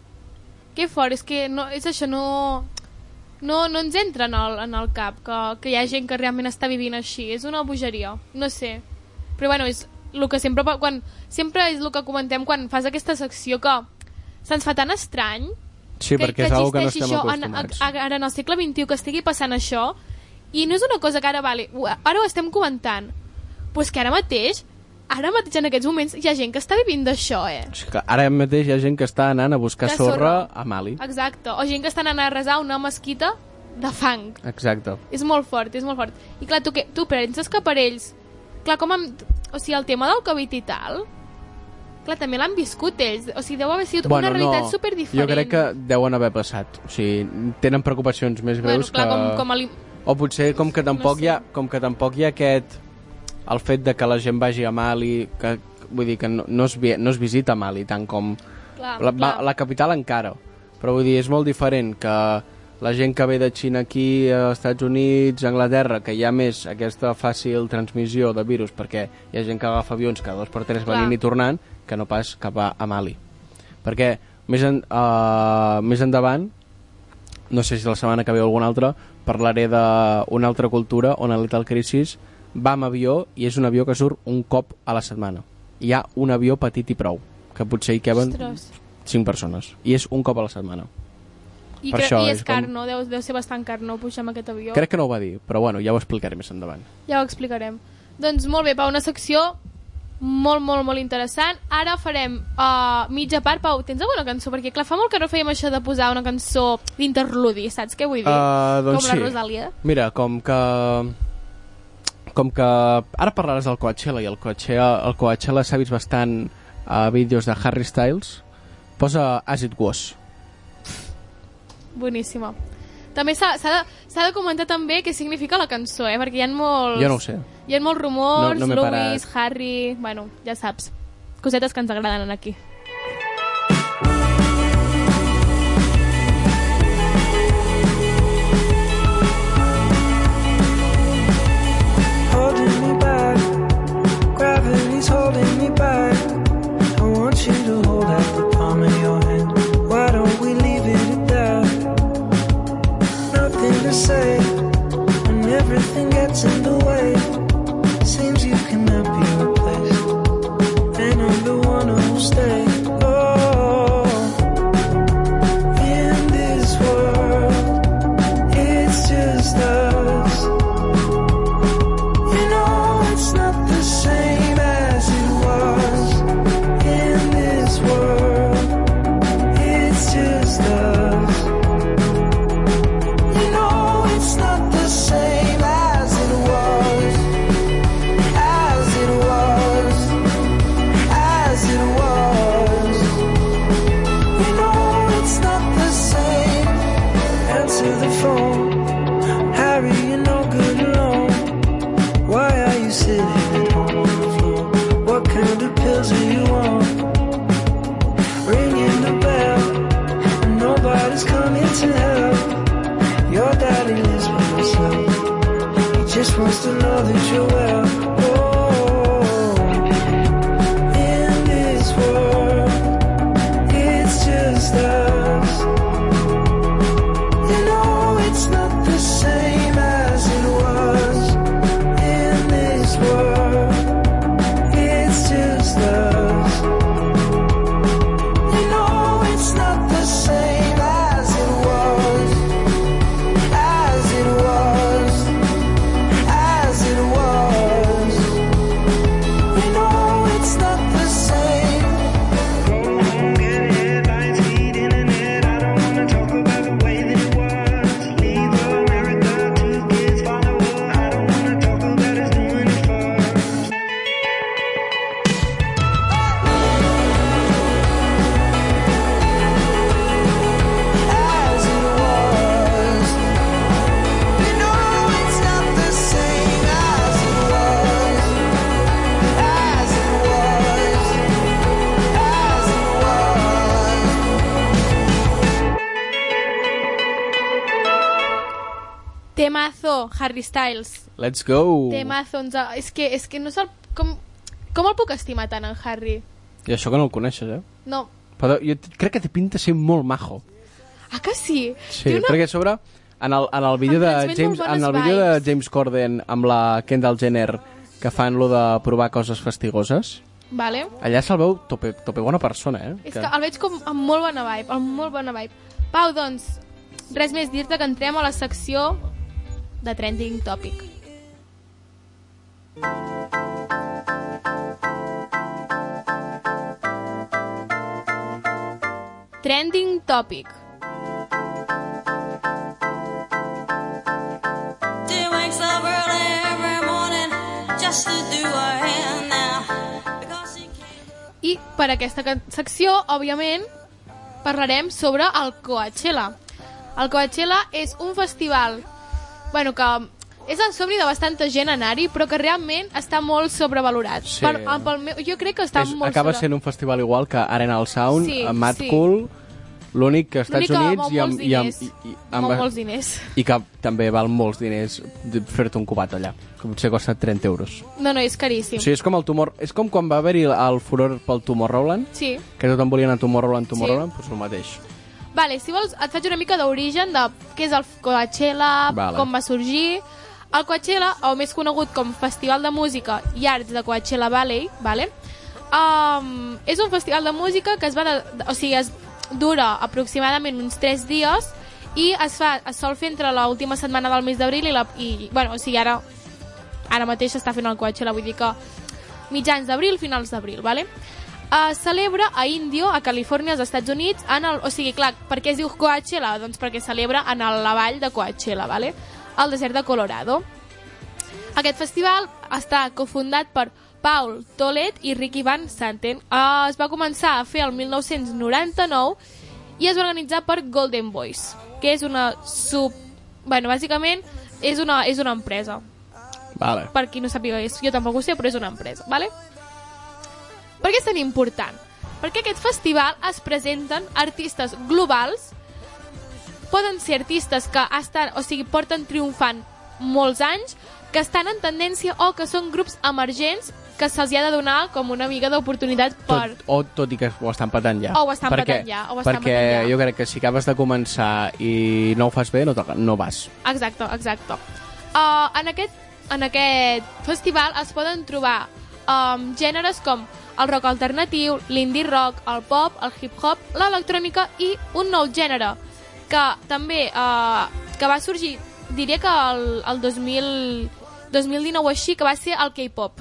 Que fort, és que no, és això, no... No, no ens entra en el, en el cap que, que hi ha gent que realment està vivint així. És una bogeria, no sé. Però bueno, és el que sempre... pa- Quan, sempre és el que comentem quan fas aquesta secció que se'ns fa tan estrany
Sí, perquè és algo que no
existeixi
estem
això en,
acostumats.
a- ara en el segle XXI que estigui passant això i no és una cosa que ara vale, ho- ara ho estem comentant però és que ara mateix ara mateix en aquests moments hi ha gent que està vivint d'això, eh?
És que ara mateix hi ha gent que està anant a buscar
De
sorra
sorra.
a Mali.
Exacte. O gent que està anant a resar a una mesquita de fang.
Exacte.
És molt fort, és molt fort. I clar, tu, què, tu penses que per ells... Clar, com amb... O sigui, el tema del Covid i tal... Clar, també l'han viscut ells. O sigui, deu haver sigut una realitat
no,
superdiferent.
Jo crec que deuen haver passat. O sigui, tenen preocupacions més
Bueno,
greus
clar,
que...
com, com a li...
O potser com que tampoc,
No
no
sé.
hi ha, com que tampoc hi ha aquest... El fet de que la gent vagi a Mali... Que, vull dir que no, no, es, vi- no es visita Mali tant com...
Clar,
la, va,
clar.
la capital encara. Però vull dir, és molt diferent que la gent que ve de Xina aquí, eh, als Estats Units, Anglaterra, que hi ha més aquesta fàcil transmissió de virus perquè hi ha gent que agafa avions cada dos per tres
Clar.
venint i tornant, que no pas cap a, a Mali. Perquè més, en, uh, més endavant, no sé si la setmana que ve o alguna altra, parlaré d'una altra cultura on a Lethal Crisis va amb avió i és un avió que surt un cop a la setmana. Hi ha un avió petit i prou, que potser hi caben
Ostres.
5 persones. I és un cop a la setmana.
I,
per
cre...
això
I és
és
car,
com-
no? Deu, deu ser bastant car, no? Pujar amb aquest avió.
Crec que no ho va dir, però bueno, ja ho explicaré més endavant.
Ja ho explicarem. Doncs molt bé, Pau, una secció molt, molt, molt interessant. Ara farem uh, mitja part. Pau, tens alguna cançó? Perquè, clar, fa molt que no fèiem això de posar una cançó d'interludi, saps què vull dir?
Ah, doncs
Com la
sí.
Rosalia.
Mira, com que... Com que ara parlaràs del Coachella i el Coachella, el Coachella s'ha vist bastant a vídeos de Harry Styles, posa As It Was.
Boníssima. També s'ha s'ha de, s'ha de comentar també què significa la cançó, eh? Perquè hi ha molts...
Jo no ho sé.
Hi ha molts rumors,
No- no m'he
Lewis, Harry... Bueno, ja saps. Cosetes que ens agraden aquí.
holding me back. Gravity's holding me back. I want you to hold out the palm of your hand. Why don't we leave it at that? Nothing to say when everything gets in the way. Seems you cannot be replaced, and I'm the one who'll stay. Oh, in this world, it's just us. You know it's not the same as it was in this world. It's just us. You know it's not the same as it was, as it was, as it was. You know it's not the same. Answer the phone, Harry. You're no good alone. Why are you sitting at home on the floor? What kind of pills are you on? Ringing the bell, and nobody's coming to help. Your daddy lives by himself. He just wants to know that you're well. Oh, in this world, it's just us. You know it's not the same as it was in this world. It's just us. You know it's not the same as it was, as it was, as it was. You know it's not the same. Go home, get headlines, feed internet. I don't wanna talk about the way that it was. Leave America, two kids, father. I don't wanna talk about us doing it first. As it was, you know it's not the same as it was, as it was, as it was.
Temazo, Harry Styles.
Let's go!
Temazo. Ens... ha- És que, és que no se'l... Com... Com el puc estimar tant, en Harry?
I això que no el coneixes, eh?
No.
Però jo t- crec que té pinta de ser molt majo.
Ah, que sí?
Sí,
Té
una... perquè a sobre en el, en el vídeo de
transmet
James
molt
en el
bones
vídeo de
vibes.
James Corden amb la Kendall Jenner que fan lo de provar coses fastigoses,
Vale.
allà se'l veu tope, tope bona persona, eh?
És que el veig com amb molt bona vibe, amb molt bona vibe. Pau, doncs, res més dir-te que entrem a la secció de Trending Topic. Trending Topic.
Dear wakes up early every morning just to do her hair now. Because she can't.
I per aquesta ca- secció, òbviament, parlarem sobre el Coachella. El Coachella és un festival bueno, que és el somni de bastanta gent anar-hi, però que realment està molt sobrevalorat.
Sí.
Per, eh, pel meu, jo crec que està
és,
molt
acaba
sobre...
sent un festival igual que Arena al Sound,
Sí,
sí, a Mad
sí.
sí. Cool, l'únic que als
L'únic
Estats
que
Units
mou
i amb,
molts
i amb,
diners.
i, i,
Molt,
amb,
molts diners.
i que també val molts diners de fer-te un cubat allà, que potser costa 30 euros.
No, no, és caríssim.
O sigui, és com el tumor... És com quan va haver-hi el furor pel Tomorrowland,
sí.
que tothom volia anar a Tomorrowland, Tomorrowland, sí. doncs el mateix.
Vale, si vols, et faig una mica d'origen de què és el Coachella,
Vale.
com va sorgir... El Coachella, o més conegut com Festival de Música i Arts de Coachella Valley, vale? um, és un festival de música que es va... De, de- o sigui, es dura aproximadament uns 3 dies i es, fa, es sol fer entre l'última setmana del mes d'abril i, la, i... Bueno, o sigui, ara, ara mateix està fent el Coachella, vull dir que mitjans d'abril, finals d'abril, vale? Uh, celebra a Indio, a Califòrnia, als Estats Units, en el, o sigui, clar, per què es diu Coachella? Doncs perquè celebra en el, la vall de Coachella, vale? al desert de Colorado. Aquest festival està cofundat per Paul Tolet i Ricky Van Santen. Uh, es va començar a fer el 1999 i es va organitzar per Golden Boys, que és una sub... Bueno, bàsicament és una, és una empresa
Vale.
per qui no sàpiga, és, jo tampoc ho sé, però és una empresa, vale? Per què és tan important? Perquè aquest festival es presenten artistes globals, poden ser artistes que estan, o sigui, porten triomfant molts anys, que estan en tendència o que són grups emergents que se'ls hi ha de donar com una mica d'oportunitat per...
Tot, o tot i que ho estan patant ja.
O ho estan
perquè,
patant ja, o ho estan
perquè
patant ja.
jo crec que si acabes de començar i no ho fas bé, no, te, no vas.
Exacte, exacte. Uh, en, aquest, en aquest festival es poden trobar um, gèneres com el rock alternatiu, l'indie rock, el pop, el hip-hop, l'electrònica i un nou gènere que també uh, que va sorgir, diria que el, el 2000, 2019 o així, que va ser el K-pop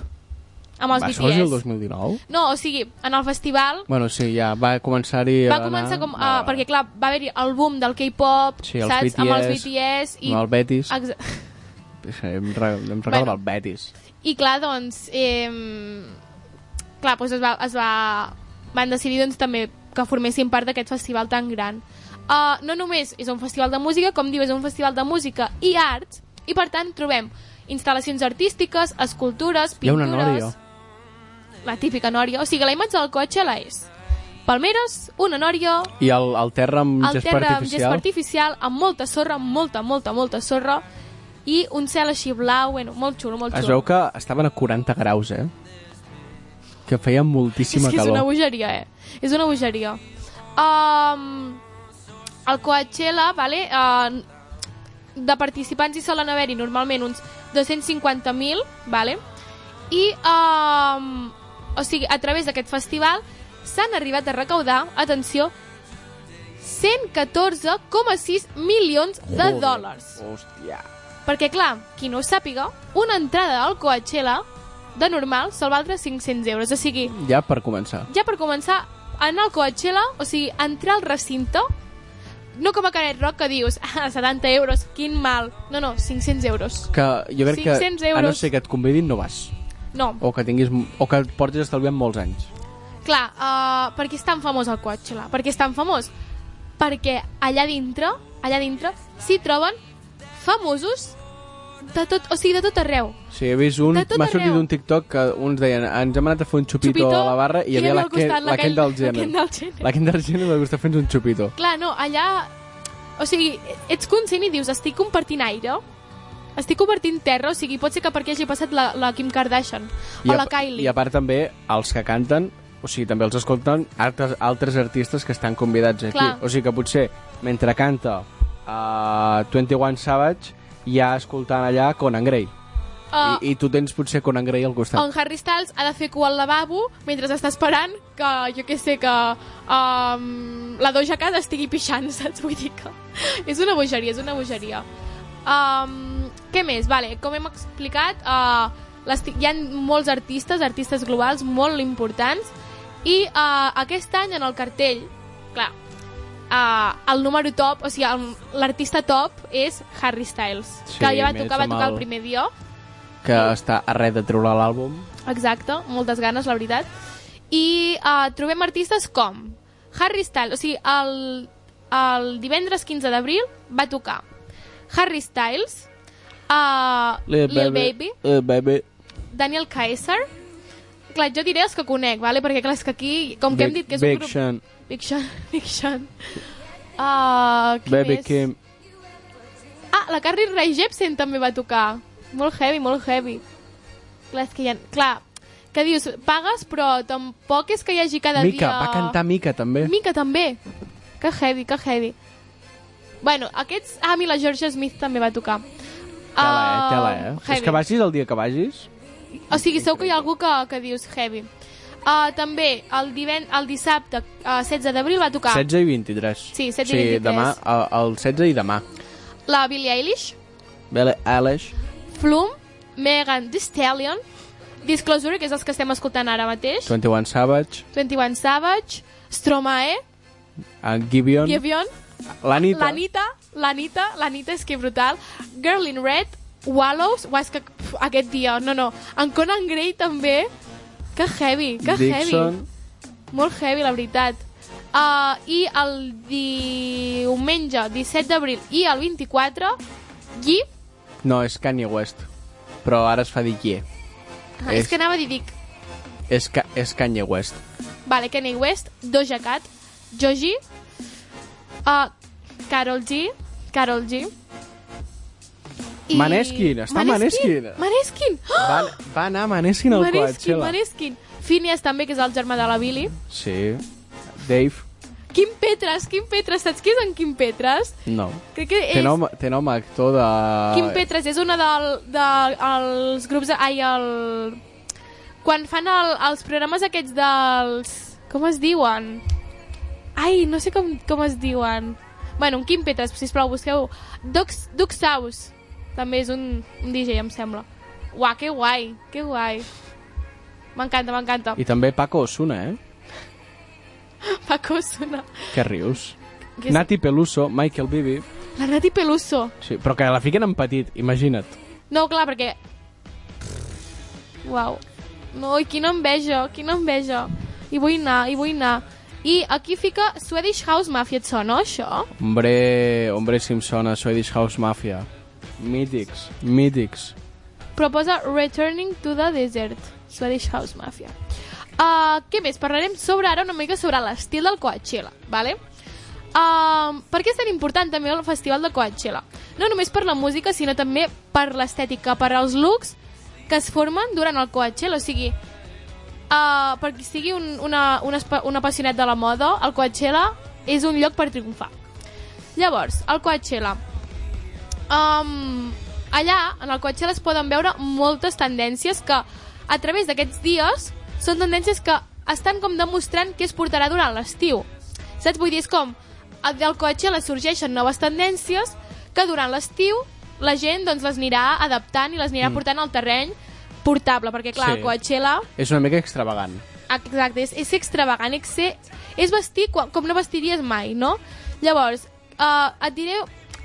amb els
va
BTS.
sorgir el 2019?
No, o sigui, en el festival
Bueno, sí, ja va començar-hi...
va
a
començar
anar-
com... Uh,
Vale, vale.
Perquè, clar, va haver-hi el boom del K-pop,
Sí, els
saps? Amb els
BTS,
BTS i...
amb el Betis.
Exa-
Em, re, em recordo
Bueno.
bueno. el Betis.
I clar, doncs... Eh, clar, doncs es va, es va... Van decidir doncs, també que formessin part d'aquest festival tan gran. Uh, no només és un festival de música, com diu, és un festival de música i arts, i per tant trobem instal·lacions artístiques, escultures,
Hi ha una
pintures...
nòria.
La típica nòria. O sigui, la imatge del cotxe la és palmeres, una nòria,
I el, el terra amb
el
gespa
terra amb
artificial.
gespa artificial, amb molta sorra, amb molta, molta, molta sorra, i un cel així blau, bueno, molt xulo, molt xulo.
Es veu que estaven a 40 graus, eh? Que feia moltíssima
és que és una
calor.
bogeria, eh? És una bogeria. Um, el Coachella, vale, uh, de participants hi solen haver-hi normalment uns 250.000, vale? i um, o sigui, a través d'aquest festival s'han arribat a recaudar, atenció, 114,6 milions de
Joder,
dòlars.
Hòstia.
Perquè, clar, qui no ho sàpiga, una entrada al Coachella de normal sol valdre 500 euros. O sigui,
Ja per començar.
ja per començar, anar al Coachella, o sigui, entrar al recinte, no com a Canet Rock que dius ah, 70 euros, quin mal. No, no, 500 euros.
Que jo crec que,
500
a no
euros.
ser que et convidin, no vas.
No,
O que, tinguis, o que et portis estalviant molts anys.
clar, uh, per què és tan famós el Coachella? Per què és tan famós? Perquè allà dintre, allà dintre, s'hi troben famosos de tot, o sigui, de tot arreu.
Sí, he vist un...
De tot
M'ha sortit
arreu.
un TikTok que uns deien ens hem anat a fer un xupito, a la barra i hi havia la,
al costat
Ken- la Ken del
La Ken
Jenner.
del Jenner.
La Ken del Jenner i la Gustaf fent un xupito.
Clar, no, allà... O sigui, ets conscient i dius, estic compartint aire, estic compartint terra, o sigui, pot ser que per aquí hagi passat la, la Kim Kardashian o la
a-
Kylie.
I a part també, els que canten, o sigui, també els escolten altres, altres artistes que estan convidats aquí.
Clar.
O sigui que potser, mentre canta uh, 21 Savage, ja escoltant allà Conan Gray.
Uh,
I, I tu tens potser Conan Gray al costat.
on Harry Styles ha de fer cua al lavabo mentre està esperant que, jo què sé, que um, la Doja Cat estigui pixant, saps? Vull dir que és una bogeria, és una bogeria. Um, què més? Vale, com hem explicat, uh, les, ti- hi ha molts artistes, artistes globals molt importants, i uh, aquest any en el cartell, clar, eh, el número top, o sigui, el- l'artista top és Harry Styles,
Sí,
que ja va
més
tocar, va
amb
tocar
el-
el primer dia.
que està a res de treure l'àlbum.
Exacte, moltes ganes, la veritat. I eh, trobem artistes com Harry Styles, o sigui, el, el divendres 15 d'abril va tocar Harry Styles, uh, Lil, Baby,
Lil Baby.
Daniel Kaiser, clar, jo diré els que conec, vale? perquè clar, és que aquí, com que hem dit que és un
Big
grup...
Sean,
Big Sean. Big Sean. Uh, qui
Baby
més?
Kim.
Ah, la Carly Rae Jepsen també va tocar. Molt heavy, molt heavy. Clar, és que hi ha... Clar, que dius, pagues, però tampoc és que hi hagi cada
Mica,
dia...
va cantar Mica també.
Mica també. Que heavy, que heavy. Bueno, aquests... Ah, a mi la Georgia Smith també va tocar.
Tela, eh?
Ah,
Tela, eh?
heavy.
És que vagis el dia que vagis.
O sigui, segur que hi ha algú que, que dius heavy. Uh, també, el, diven... el dissabte, uh, 16 d'abril, va tocar
16 i 23.
Sí, 16 i
Sí,
23.
demà, el, el 16 i demà.
la Billie Eilish,
Belle Eilish.
Flum, Megan Thee Stallion, Disclosure, que és els que estem escoltant ara mateix,
21 Savage.
21 Savage, Stromae,
En uh, Gibeon.
Yevion,
L'Anita.
l'Anita, l'Anita, l'Anita és que brutal, Girl in Red, Wallows, uah, és que pf, aquest dia, no, no, en Conan Gray també, que heavy, que
Dixon.
heavy, molt heavy, la veritat. Uh, I el diumenge 17 d'abril i el 24, Gui,
No, és Kanye West. Però ara es fa dir qui.
ah, és
És-
que anava a dir Dic,
És, Ka és Kanye West.
Vale, Kanye West, Doja Cat, Joji, uh, Carol G, Carol G.
Maneskin, està Maneskin.
Maneskin!
Va,
Oh!
va anar Maneskin al
Maneskin,
Coachella.
Maneskin. Phineas també, que és el germà de la Billy.
Sí. Dave.
Quim Petras, Quim Petras, saps qui és en Quim Petras?
No.
Crec que
Té
és...
nom, té nom actor de...
Quim Petras és una dels de, els grups... De, ai, el... Quan fan el, els programes aquests dels... Com es diuen? Ai, no sé com, com es diuen. Bueno, un Quim Petras, sisplau, busqueu. Dux, Dux House. També és un, un DJ, em sembla. Uah, que guai, que guai. M'encanta, m'encanta.
I també Paco Osuna, eh?
Paco Osuna.
Què rius?
Que és-
Nati Peluso, Michael Bibi...
La Nati Peluso.
Sí, però que la fiquen en petit, imagina't.
No, clar, perquè... Uau. No, i quina enveja, quina enveja. I vull anar, i vull anar. I aquí fica Swedish House Mafia, et sona això?
Hombre, hombre Simpson, a Swedish House Mafia. Mítics, mítics.
Però posa Returning to the Desert, Swedish House Mafia. Uh, què més? Parlarem sobre ara una mica sobre l'estil del Coachella, vale? Uh, per què és tan important també el festival de Coachella? No només per la música, sinó també per l'estètica, per els looks que es formen durant el Coachella, o sigui, uh, per qui sigui un, una, un, espa- un apassionat de la moda, el Coachella és un lloc per triomfar. Llavors, el Coachella. Um, allà, en el Coachella es poden veure moltes tendències que, a través d'aquests dies, són tendències que estan com demostrant què es portarà durant l'estiu. Saps? Vull dir, és com, a- del Coachella sorgeixen noves tendències que durant l'estiu la gent doncs, les anirà adaptant i les anirà mm. portant al terreny portable, perquè clar,
Sí.
el Coachella
És una mica extravagant.
Exacte, és, és ser extravagant, és, ser, és vestir com, com no vestiries mai, no? Llavors, uh, et diré,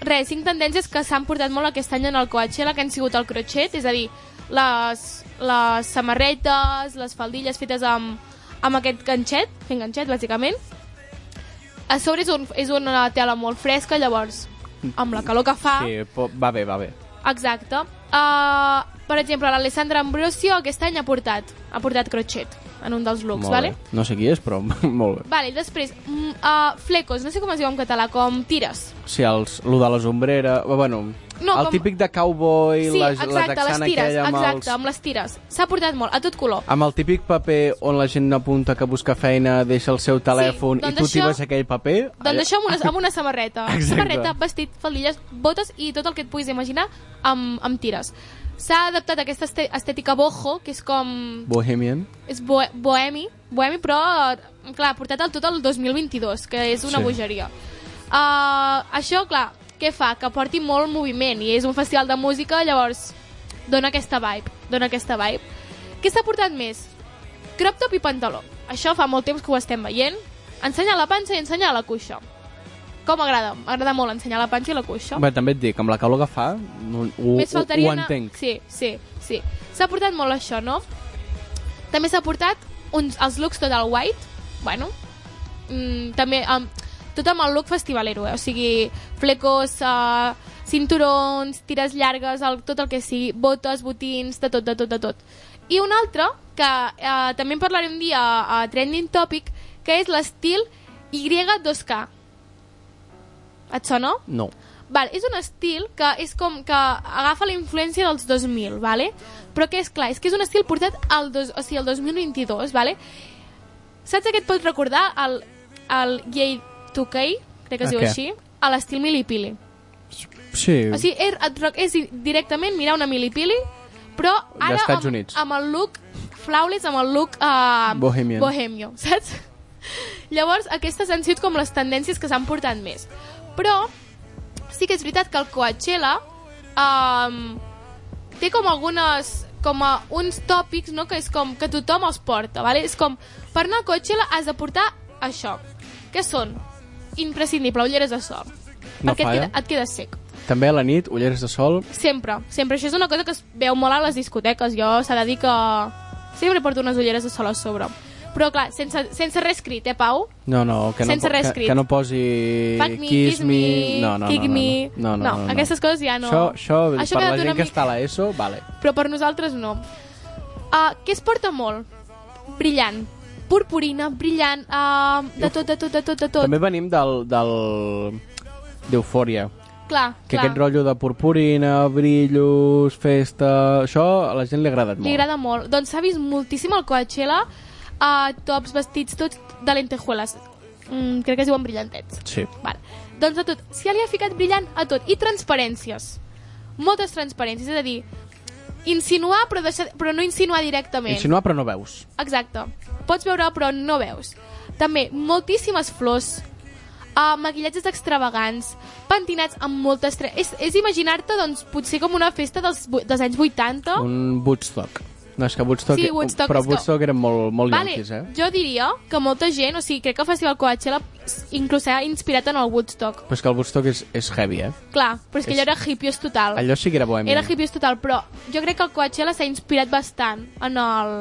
res, cinc tendències que s'han portat molt aquest any en el Coachella, que han sigut el crochet, és a dir, les, les samarretes, les faldilles fetes amb, amb aquest ganxet, fent ganxet, bàsicament. A sobre és, un, és una tela molt fresca, llavors, amb la calor que fa...
Sí, po- va bé, va bé.
Exacte. Uh, per exemple, l'Alessandra Ambrosio aquest any ha portat, ha portat crochet en un dels looks,
Molt
vale?
bé. No sé qui és, però molt bé.
Vale, i després, mm, uh, flecos, no sé com es diu en català, com tires.
Sí, els, lo de les ombreres... Bueno,
No,
el
com-
típic de cowboy,
sí,
la, la
exacte, les
texana
tires,
aquella amb
exacte,
els... Ah,
amb les tires. S'ha portat molt, a tot color.
Amb el típic paper on la gent apunta que busca feina, deixa el seu telèfon
doncs
i tu
això-
tires aquell paper...
Doncs això amb una, amb una samarreta.
Exacte.
Samarreta, vestit, faldilles, botes i tot el que et puguis imaginar amb, amb tires. S'ha adaptat a aquesta este- estètica boho, que és com...
Bohemian.
és bo bohemi, bohemi però, eh, clar, portat el tot el 2022, que és una
Sí.
sí. bogeria. Uh, això, clar, què fa? Que porti molt moviment i és un festival de música, llavors dona aquesta vibe, dona aquesta vibe. Què s'ha portat més? Crop top i pantaló. Això fa molt temps que ho estem veient. Ensenyar la panxa i ensenyar la cuixa. Com m'agrada? M'agrada molt ensenyar la panxa i la cuixa.
Bé, també et dic, amb la calor que fa, no- ho,
Més
ho,
faltaria...
ho
anar-
entenc.
Sí, sí, sí. S'ha portat molt això, no? També s'ha portat uns, els looks tot al white. Bueno, mm, també amb, tot amb el look festivalero, eh? O sigui, flecos, uh, cinturons, tires llargues, el, tot el que sigui, botes, botins, de tot, de tot, de tot. I un altre, que uh, també en parlaré un dia a Trending Topic, que és l'estil Y2K. Et sona?
No.
Val, és un estil que és com que agafa la influència dels 2000, vale? però que és clar, és que és un estil portat al, dos, o sigui, al 2022, vale? saps aquest pot recordar el, el Gay 2K, crec que es
A
diu
què?
així, a l'estil milipili.
Sí.
O sigui, és, et rec- és directament mirar una milipili, però ara
D'Estats
amb,
Units.
amb el look flawless, amb el look uh,
Bohemian.
bohemio, saps? Llavors, aquestes han sigut com les tendències que s'han portat més. Però sí que és veritat que el Coachella um, té com algunes com a uns tòpics no? que és com que tothom els porta vale? és com per anar a Coachella has de portar això que són imprescindible ulleres de sol
No
perquè et
falla.
queda, et queda sec
També a la nit, ulleres de sol,
sempre, sempre això és una cosa que es veu molt a les discoteques jo s'ha de dir que sempre porto unes ulleres de sol a sobre però clar, sense, sense res escrit, eh Pau?
No, no, que
Sense
no, po-
res
que,
escrit.
que no posi
Fuck me,
Eh, kiss,
kiss me,
no, no,
kick
no, no,
me.
No, no, no,
No,
no, no.
aquestes coses ja no.
Això, això,
Això
això per
ha
la
quedat
gent
una
que
mica-
està a l'ESO, vale.
però per nosaltres no. Uh, què es porta molt? Brillant. Purpurina, brillant, uh, de tot, de tot, de tot, de tot.
També venim del... del d'eufòria,
Clar,
que
clar.
aquest rotllo de purpurina, brillos, festa... Això a la gent li ha agradat molt.
Li agrada molt. Doncs s'ha vist moltíssim el Coachella, uh, tops, vestits, tots de lentejuelas. Mm, crec que es diuen brillantets.
Sí.
Val. Doncs a tot. Si ja li ha ficat brillant, a tot. I transparències. Moltes transparències. És a dir, insinuar però, deixar, però no insinuar directament.
Insinuar però no veus.
Exacte. Pots veure però no veus. També moltíssimes flors, uh, maquillatges extravagants, pentinats amb moltes... Tre... És, és imaginar-te, doncs, potser com una festa dels, vu- dels anys 80.
Un Woodstock. No, és que Woodstock...
Sí, Woodstock
però
és que-
Woodstock eren molt, molt
Vale,
yanquis, eh?
jo diria que molta gent, o sigui, crec que el Festival Coachella s- inclús s'ha inspirat en el Woodstock.
Però és que el Woodstock és, és heavy, eh?
Clar, però és que
És-
allò era hippies total.
Allò sí que era bohemi.
Era hippies total, però jo crec que el Coachella s'ha inspirat bastant en el,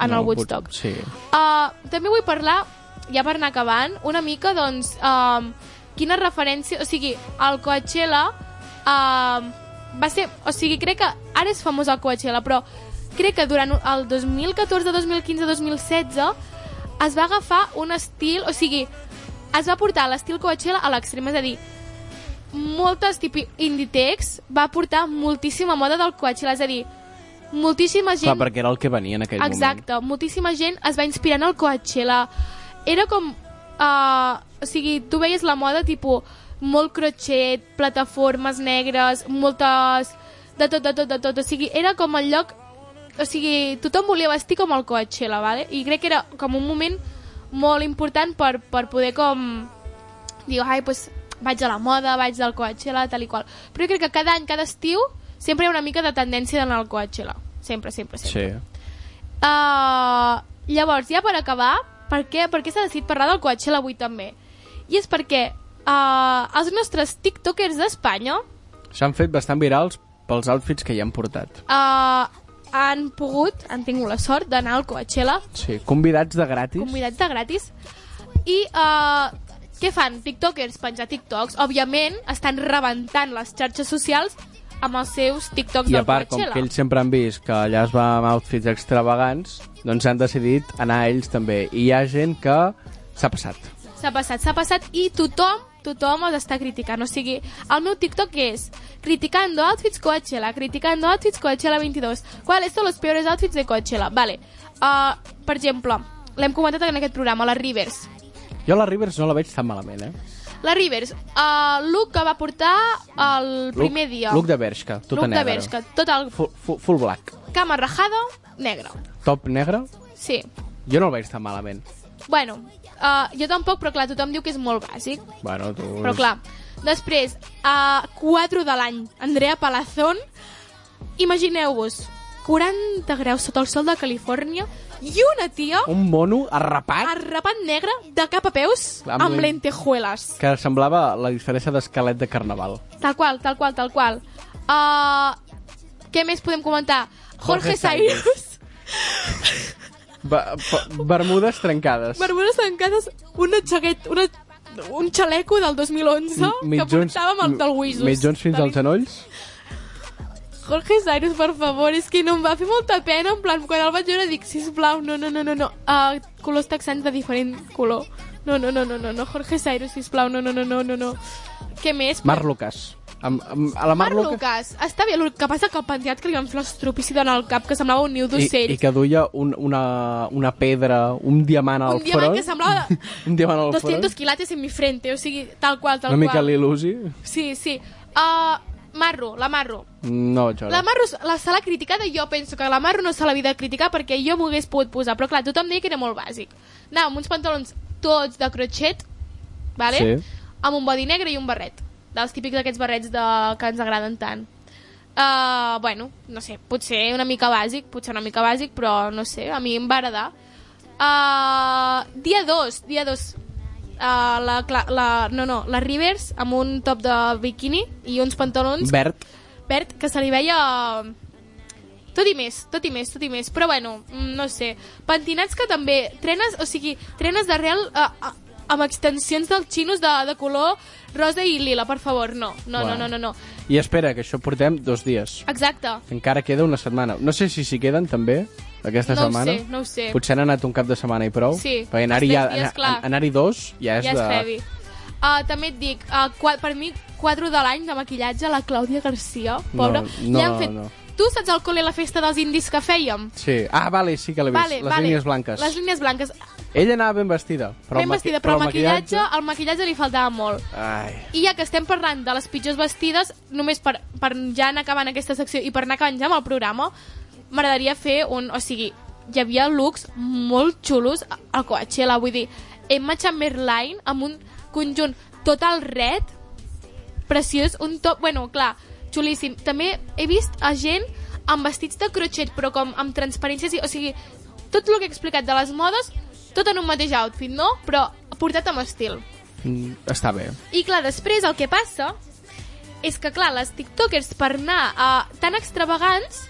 en el Woodstock.
Sí.
Uh, també vull parlar, ja per anar acabant, una mica, doncs, um, quina referència... O sigui, el Coachella um, va ser... O sigui, crec que ara és famós el Coachella, però crec que durant el 2014, 2015, 2016 es va agafar un estil... O sigui, es va portar l'estil Coachella a l'extrem, és a dir, moltes tipi Inditex va portar moltíssima moda del Coachella, és a dir, moltíssima gent...
Clar, perquè era el que venia en aquell moment.
Exacte, moltíssima gent es va inspirar en el Coachella. Era com... Uh, o sigui, tu veies la moda tipus molt crotxet, plataformes negres, moltes... De tot, de tot, de tot. O sigui, era com el lloc... O sigui, tothom volia vestir com el Coachella, vale? I crec que era com un moment molt important per, per poder com... Diu, ai, doncs vaig a la moda, vaig del Coachella, tal i qual. Però jo crec que cada any, cada estiu, sempre hi ha una mica de tendència d'anar al Coachella. Sempre, sempre, sempre.
Sí.
Uh, llavors, ja per acabar, per què, per què s'ha decidit parlar del Coachella avui també? I és perquè uh, els nostres tiktokers d'Espanya
S'han fet bastant virals pels outfits que hi han portat.
uh, han pogut, han tingut la sort d'anar al Coachella,
Sí, convidats de gratis.
convidats de gratis, i uh, què fan? Tiktokers penjar tiktoks, òbviament, estan rebentant les xarxes socials amb els seus tiktoks
I a
del
part, com
Coachella.
que ells sempre han vist que allà es va amb outfits extravagants, doncs han decidit anar ells també. I hi ha gent que s'ha passat.
S'ha passat, s'ha passat i tothom, tothom els està criticant. O sigui, el meu TikTok és criticando outfits Coachella, criticando outfits Coachella 22. ¿Cuáles son los peores outfits de Coachella? Vale. Uh, per exemple, l'hem comentat en aquest programa, la Rivers.
Jo la Rivers no la veig tan malament, eh?
La Rivers, uh, look que va portar el primer
Look-
dia.
Look de tota Bershka, tot
Look
en
de
negre.
Bershka, tot el
Full, full, full black.
cama rajada, negre.
Top negre,
Sí.
jo no el veig tan malament.
Bueno, uh, jo tampoc, però clar, tothom diu que és molt bàsic.
Bueno, tu...
Però clar, després, a 4 de l'any, Andrea Palazón, imagineu-vos, 40 graus sota el sol de Califòrnia i una tia
Un mono arrapat
arrapat negre de cap a peus
Clar, amb
amb
lent-
lentejuelas.
que semblava la disfressa d'esquelet de carnaval.
Tal qual, tal qual, tal qual. Uh, què més podem comentar? Jorge,
Jorge Sainz.
Cyrus,
Ba- ba- bermudes trencades.
barbudes tancades, una jaquet, una, un xaleco del 2011
M-
que portava amb el del
mi-
Wisos.
Mitjons fins als genolls.
Jorge Cyrus, per favor, és que no em va fer molta pena, en plan, quan el vaig veure dic, sisplau, no, no, no, no, no, uh, colors texans de diferent color. No, no, no, no, no, no, Jorge Cyrus, sisplau, no, no, no, no, no, no. Què més?
Mar Lucas. Amb, amb, a la Mar,
Marc Lucas. Està bé, el que passa que el penteat que li van fer l'estropicida en el cap, que semblava un niu d'ocell.
I, I que duia un, una, una pedra, un diamant al
Un diamant
front.
que semblava de
Un diamant al
200
front.
quilates en mi frente, o sigui, tal qual, tal
Una mica
qual.
l'il·lusi.
Sí, sí. Uh, Marro, la Marro.
No vaig veure.
La Marro s- la se l'ha criticada i jo penso que la Marro no se l'havia de criticar perquè jo m'ho hagués pogut posar, però clar, tothom deia que era molt bàsic. Anava amb uns pantalons tots de crotxet, vale?
Sí.
amb un body negre i un barret, dels típics d'aquests barrets de... que ens agraden tant. Uh, bueno, no sé, potser una mica bàsic, potser una mica bàsic, però no sé, a mi em va agradar. Uh, dia 2, dia 2. Uh, la, Cla- la, no, no, la Rivers amb un top de biquini i uns pantalons
Verd.
verd que se li veia tot i més, tot i més, tot i més. Però bueno, mm, no sé. Pentinats que també... Trenes, o sigui, trenes d'arrel eh, a- amb extensions dels xinos de, de color rosa i lila, per favor, no. No, no,
Uau.
no, no, no.
I espera, que això portem dos dies.
Exacte.
Encara queda una setmana. No sé si s'hi queden, també, aquesta
no ho
setmana.
sé, no ho sé.
Potser han anat un cap de setmana i prou.
Sí,
Perquè anar-hi
els
ja,
tres dies,
anar,
clar.
anar dos ja és,
ja és
de...
heavy. Uh, també et dic, uh, qua, per mi, quadro de l'any de maquillatge, la Clàudia Garcia, pobra.
no,
li han fet...
no.
Tu saps al col·le la festa dels indis que fèiem?
Sí. Ah, vale, sí que l'he vist. Les línies blanques.
Les línies blanques.
Ella anava ben vestida. Però
Però ben
el maqui-
vestida, però, el maquillatge, el maquillatge li faltava molt.
Ai.
I ja que estem parlant de les pitjors vestides, només per, per ja anar acabant aquesta secció i per anar acabant ja amb el programa, m'agradaria fer un... O sigui, hi havia looks molt xulos al Coachella, vull dir, Emma Chamberlain amb un conjunt tot el red, preciós, un top... Bueno, clar, xulíssim. També he vist a gent amb vestits de crotxet, però com amb transparències... i- O sigui, tot el que he explicat de les modes, tot en un mateix outfit, no? Però portat amb estil.
Mm, Està bé.
I clar, després el que passa és que, clar, les tiktokers per anar uh, tan extravagants,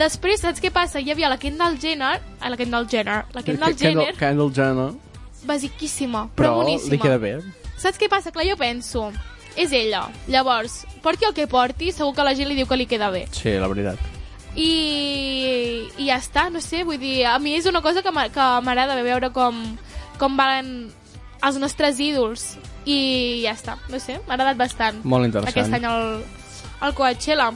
després saps què passa? Hi havia la Kendall Jenner, ah, la Kendall Jenner, la Kendall Jenner,
Kendall, Kendall Jenner.
basiquíssima, però,
Però
boníssima.
li queda bé.
Saps què passa? Clar, jo penso, és ella. Llavors, porti el que porti, segur que la gent li diu que li queda bé.
Sí, la veritat.
I, i ja està, no sé, vull dir, a mi és una cosa que m'a- que m'agrada veure com, com van els nostres ídols i ja està, no sé, m'ha agradat bastant
Molt interessant.
aquest any el, el Coachella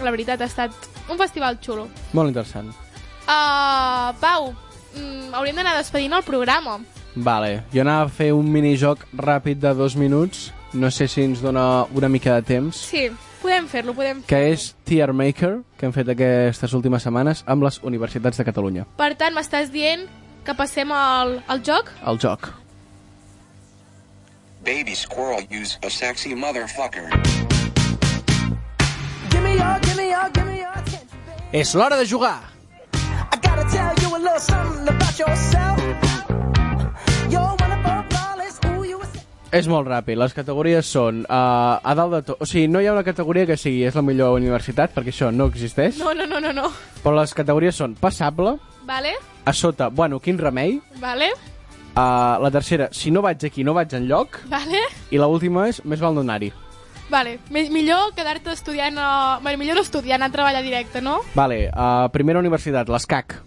la veritat ha estat un festival xulo
Molt interessant.
uh, Pau, mm, hauríem d'anar despedint el programa
Vale, jo anava a fer un minijoc ràpid de dos minuts. No sé si ens dona una mica de temps.
sí, podem fer-lo, podem
que és Tier Maker, que hem fet aquestes últimes setmanes amb les universitats de Catalunya.
per tant m'estàs dient que passem al, al joc?
El joc.
Baby squirrel, use a sexy motherfucker.
Give me your, give me your, give me your attention.
És l'hora de jugar!
I gotta tell you a little something about yourself. You're wonderful, flawless. Ooh, you a
És molt ràpid. Les categories són uh, a dalt de tot. O sigui, no hi ha una categoria que sigui és la millor universitat, perquè això no existeix.
no, no, no, no, no
Però les categories són passable,
vale,
a sota, bueno, quin remei.
vale,
Uh, la tercera, si no vaig aquí, no vaig en lloc.
vale
I la última és més val no anar-hi.
Vale, mi- millor quedar-te estudiant... A... Bueno, millor no estudiar, anar a treballar directe, no?
Vale, uh, primera universitat, l'ESCAC.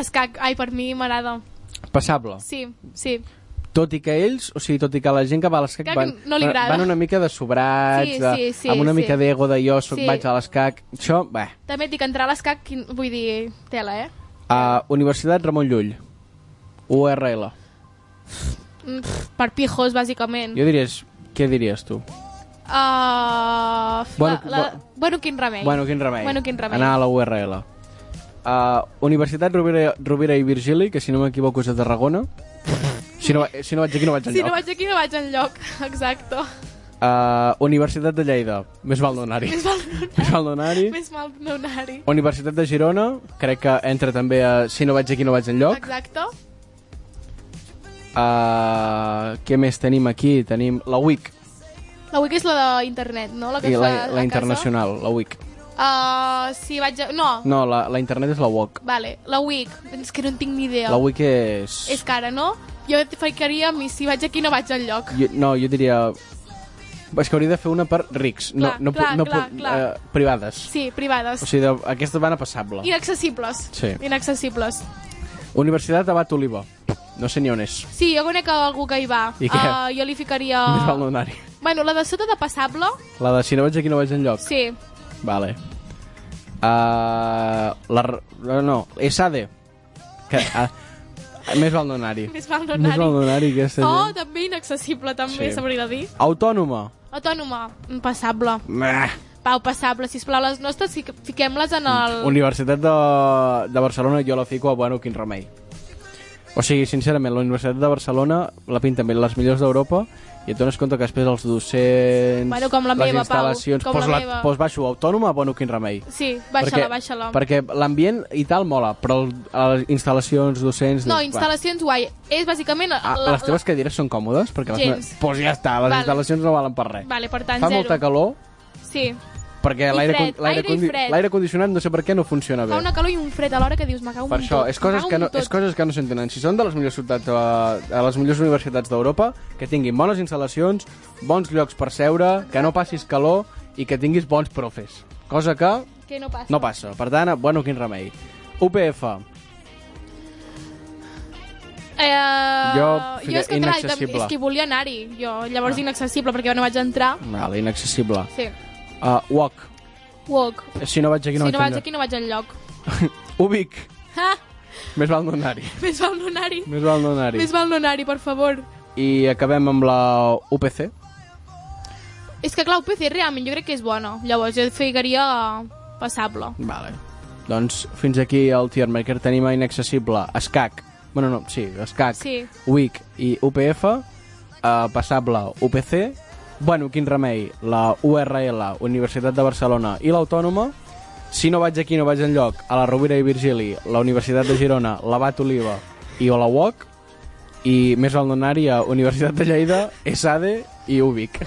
Escac, ai, per mi m'agrada.
Passable.
Sí, sí.
tot i que ells, o sigui, tot i que la gent que va a l'escac
Que
van,
no li
van-
agrada.
van una mica de sobrats,
Sí,
de,
sí, sí,
amb una
sí.
mica d'ego de jo soc,
Sí.
vaig a l'escac. Això, bé.
També et dic, entrar a l'escac, quin- vull dir, tela, eh?
Uh, Universitat Ramon Llull. URL.
Mm, pff, Per pijos, bàsicament.
Jo diries, què diries tu?
Uh,
Bueno,
bueno, la, la...
bo-
bueno, quin remei.
Bueno, quin remei.
Bueno, quin remei.
Anar a la URL. Uh, Universitat Rovira, Rovira i Virgili, que si no m'equivoco és de Tarragona. Si no, va- si no vaig aquí, no vaig
Si
enlloc.
no vaig aquí, no vaig enlloc. Exacte.
Uh, Universitat de Lleida, més val donar-hi.
Més val no
Més
anar-hi.
val donar-hi.
Més mal no anar-hi.
Universitat de Girona, crec que entra també a Si no vaig aquí no vaig enlloc.
Exacte.
Uh, què més tenim aquí? Tenim la WIC,
La WIC és la d'internet, no? La que
i
es
la,
fa
la
a
internacional, la WIC.
Casa. Uh, si vaig a... No.
No, la, la internet és la WOC.
Vale, la WIC. És que no en tinc ni idea.
La WIC és...
És cara, no? Jo et ficaria a mi, si vaig aquí no vaig al lloc.
Jo, no, jo diria... És que hauria de fer una per rics, no,
Clar,
no, pu-
clar,
no,
clar,
pu-
clar.
eh, privades.
Sí, privades.
O sigui, de, aquesta van a passable.
Inaccessibles.
Sí.
Inaccessibles.
Universitat Abat Oliva. No sé ni on és.
Sí, jo conec algú que hi va.
I què?
Uh, jo li ficaria...
Més val no anar-hi.
Bueno, la de sota de passable,
La de si no vaig aquí no vaig enlloc.
sí.
Vale. Uh, la... r- No, no, SAD. Que, uh, més val no anar-hi.
Més val no
Més val no
anar-hi.
anar-hi, aquesta
Oh,
gent.
també inaccessible, també,
Sí.
sí. s'hauria de dir.
Autònoma.
Autònoma, mm, passable.
Meh.
Pau, passable, sisplau, les nostres fic- fiquem-les en el...
Mm, Universitat de, de Barcelona jo la fico a bueno, quin remei. O sigui, sincerament, la Universitat de Barcelona la pinten bé les millors d'Europa i et dones compte que després els docents,
Bueno, com la
les
meva, Pau,
instal·lacions...
com
pos
la meva.
Pos baixo, autònoma, bueno, quin remei.
Sí, baixa-la, baixa-la.
Perquè l'ambient i tal mola, però el, les instal·lacions, docents...
No,
dius, va.
instal·lacions guai. És bàsicament...
Ah,
la-
les teves cadires són còmodes? Perquè les
Gens.
meves... Pues ja està, les
Vale.
instal·lacions no valen per res.
Vale, per tant,
Fa
zero.
molta calor,
Sí,
perquè
I
l'aire
fred,
con- l'aire
aire i
condi-
fred.
l'aire condicionat no sé per què no funciona bé.
fa una calor i un fred alhora que dius, me cago
Per
en
això,
tot,
és
me
coses,
cago
que
en
no,
tot.
és coses que no s'entenen. Si són de les millors ciutats, eh, de les millors universitats d'Europa, que tinguin bones instal·lacions, bons llocs per seure, que no passis calor i que tinguis bons profes. Cosa que
Que no passa.
no passa. Per tant, bueno, quin remei. UPF.
Eh,
Jo,
jo és que, clar,
inaccessible.
és que volia anar-hi, jo. Llavors, inaccessible, perquè jo no vaig entrar.
Vale, inaccessible.
Sí.
Uh, UOC.
Walk.
Eh, Si no vaig aquí,
No
no
si no vaig
vaig
aquí, no vaig enlloc.
Ubic.
Ah,
Més val no anar-hi.
més val no anar-hi.
Més val no anar-hi.
Més val no anar-hi, per favor.
I acabem amb la UPC.
És que, clar, UPC realment jo crec que és bona. Llavors, jo et ficaria passable.
Vale. Doncs fins aquí el tier maker tenim a Inaccessible, Escac, bueno, no, sí, Escac,
Sí.
Wic i UPF, eh, Passable, UPC, bueno, quin remei, la URL, Universitat de Barcelona i l'Autònoma, si no vaig aquí no vaig enlloc, a la Rovira i Virgili, la Universitat de Girona, l'Abat Oliva i o la UOC, i més al donar-hi a Universitat de Lleida, ESADE E i UBIC.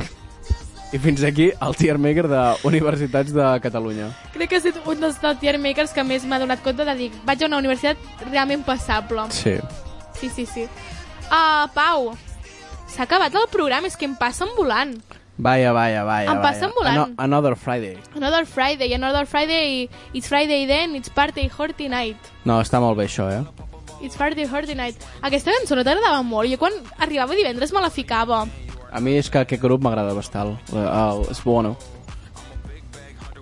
I fins aquí el tier maker de Universitats de Catalunya.
Crec que ha estat un dels tier makers que més m'ha donat compte de dir vaig a una universitat realment passable.
Sí.
Sí, sí, sí. Uh, Pau, s'ha acabat el programa, és que em passen volant.
Vaya, vaya, vaya.
Em passen
vaya.
volant.
Ano- another Friday.
Another Friday, another Friday, it's Friday then, it's party, horty night.
No, està molt bé això, eh?
It's party, horty night. Aquesta cançó no t'agradava molt, jo quan arribava divendres me la ficava.
A mi és que aquest grup m'agrada bastant. El, el, és bueno.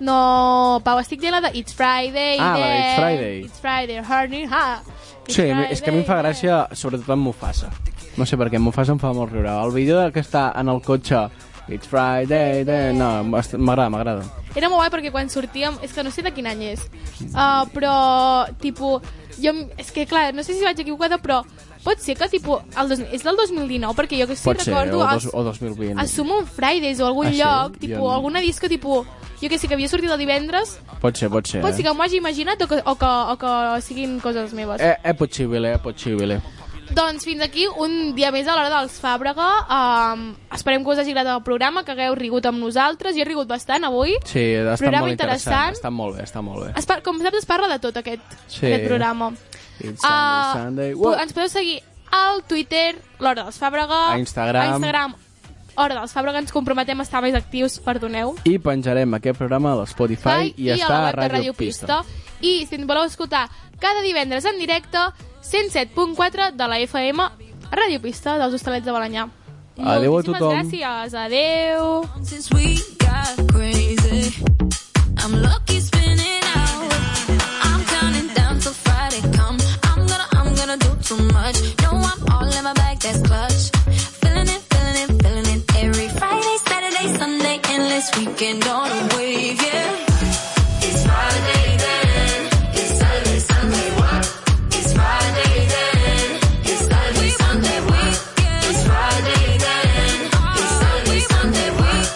No, Pau, estic dient la de It's Friday
Ah, la de
then.
It's Friday.
It's Friday, horny, ha. It's
Sí, a mi- és que a mi em fa
Friday then.
gràcia, sobretot amb Mufasa. No sé per què, Mufasa em fa molt riure. El vídeo del que està en el cotxe, It's Friday, then... no, m'est- m'agrada, m'agrada.
Era molt guai perquè quan sortíem... És que no sé de quin any és, uh, però, tipus... Jo, em- és que, clar, no sé si vaig equivocada, però pot ser que, tipus, el dos, és del 2019, perquè jo que sí
Pot ser,
recordo...
o, dos,
els-
o 2020.
a Summon Fridays o algun
Ah,
ah,
sí?
lloc,
Jo
tipus,
no.
alguna disco, tipus, jo que sé, que havia sortit el divendres,
Pot ser, pot ser.
pot ser
eh?
que m'ho hagi imaginat o que, o, que, o que siguin coses meves.
Eh, è possibile, è possibile.
Doncs fins aquí un dia més a l'hora dels Fàbrega. Um, esperem que us hagi agradat el programa, que hagueu rigut amb nosaltres. Jo he rigut bastant avui.
Sí, està
Programa
molt interessant.
interessant.
Està molt bé, està molt bé.
Es par com saps, es parla de tot aquest,
Sí.
aquest programa.
It's
Ah,
Sunday, Sunday.
po-
Wow.
ens podeu seguir al Twitter, l'Hora dels Fàbrega.
A Instagram.
A Instagram, Hora dels Fàbrega. Ens comprometem a estar més actius, perdoneu.
I penjarem aquest programa a l'Spotify i,
a la
està a
web de
Radio Pista.
I si ens voleu escoltar cada divendres en directe, 107.4 de la FM, a Radio Pista dels Hostalets de Balanyà.
Adéu a
Moltíssimes
tothom.
gràcies. Adéu.
Since we got crazy, I'm lucky spinning out. I'm counting down till Friday come. I'm gonna, I'm gonna do too much. No, I'm all in my bag, that's clutch. Feeling it, feeling it, feeling it every Friday, Saturday, Sunday, endless weekend on a wave, yeah. It's Friday then, it's Saturday, Sunday, what? It's Friday then, it's Saturday, Sunday, what? It's Friday then, it's Saturday, Sunday, what?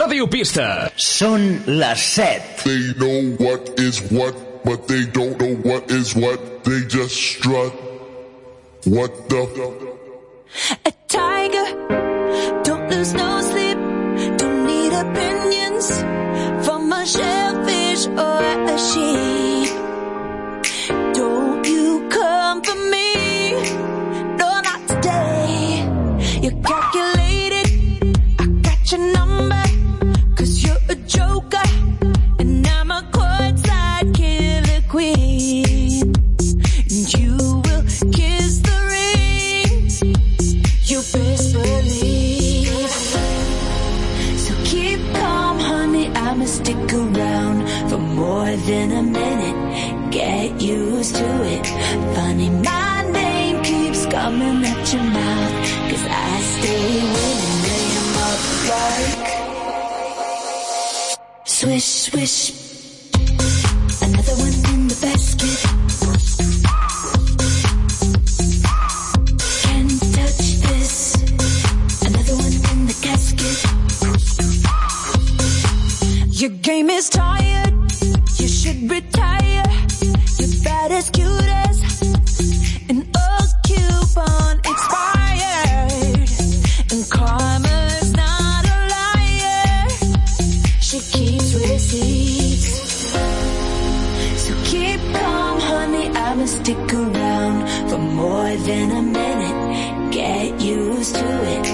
Ràdio Pista.
Són les 7.
They know what is what, but they don't know what is what. They just strut. What the?
a tiger. Don't lose no sleep. Don't need opinions from a shellfish or a sheep. Don't you come for me. No, not today. You're calculated. I got your number. Cause you're a joker. And I'm a courtside killer queen. And you will kiss the ring. You best believe. So keep calm, honey. I'ma stick around for more than a minute. Get used to it. Funny, my name keeps coming at your mouth. Cause I stay winning. Lay 'em up like. Swish, swish. Another one in the basket. Can't touch this. Another one in the casket. Your game is tired. You should retire. You're bad as cute as an old coupon expired. And karma's not a liar. She keeps receipts. So keep calm, honey. I'ma stick around for more than a minute. Get used to it.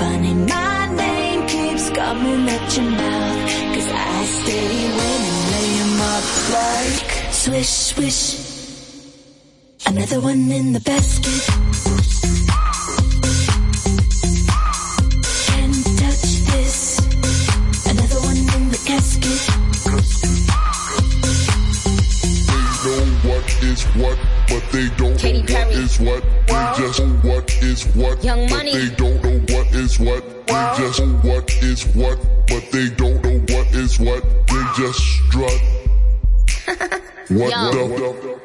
Funny, my name keeps coming at your mouth. Cause I stay winning, lay 'em up like swish, swish. Another one in the basket. Can't touch this. Another one in the casket.
They know what is what, but they don't know what is what. They just know what is what,
Young
but
Money.
they don't know what is what. They just know what is what, but they don't know what is what. They just strut. What the?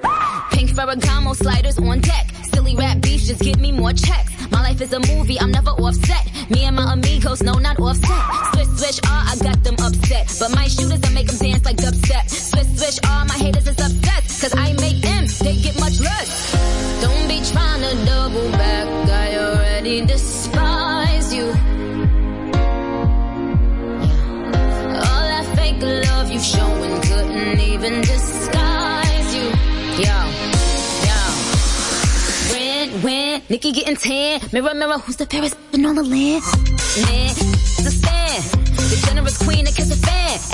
Pink Ferragamo sliders on deck. Silly rap beef, just give me more checks. My life is a movie, I'm never offset. Me and my amigos, no, not offset. Swish, swish, ah, I got them upset. But my shooters, I make them dance like dubstep. Swish, swish, ah, my haters is obsessed. Cause I make M's, they get much less. Don't be trying to double back, I already despise you. All that fake love you showing couldn't even disguise you. Yo, yo. Red, win, Nikki getting tan. Mirror, mirror, who's the fairest in all the land? Man, the stand. The generous queen that kiss a fan.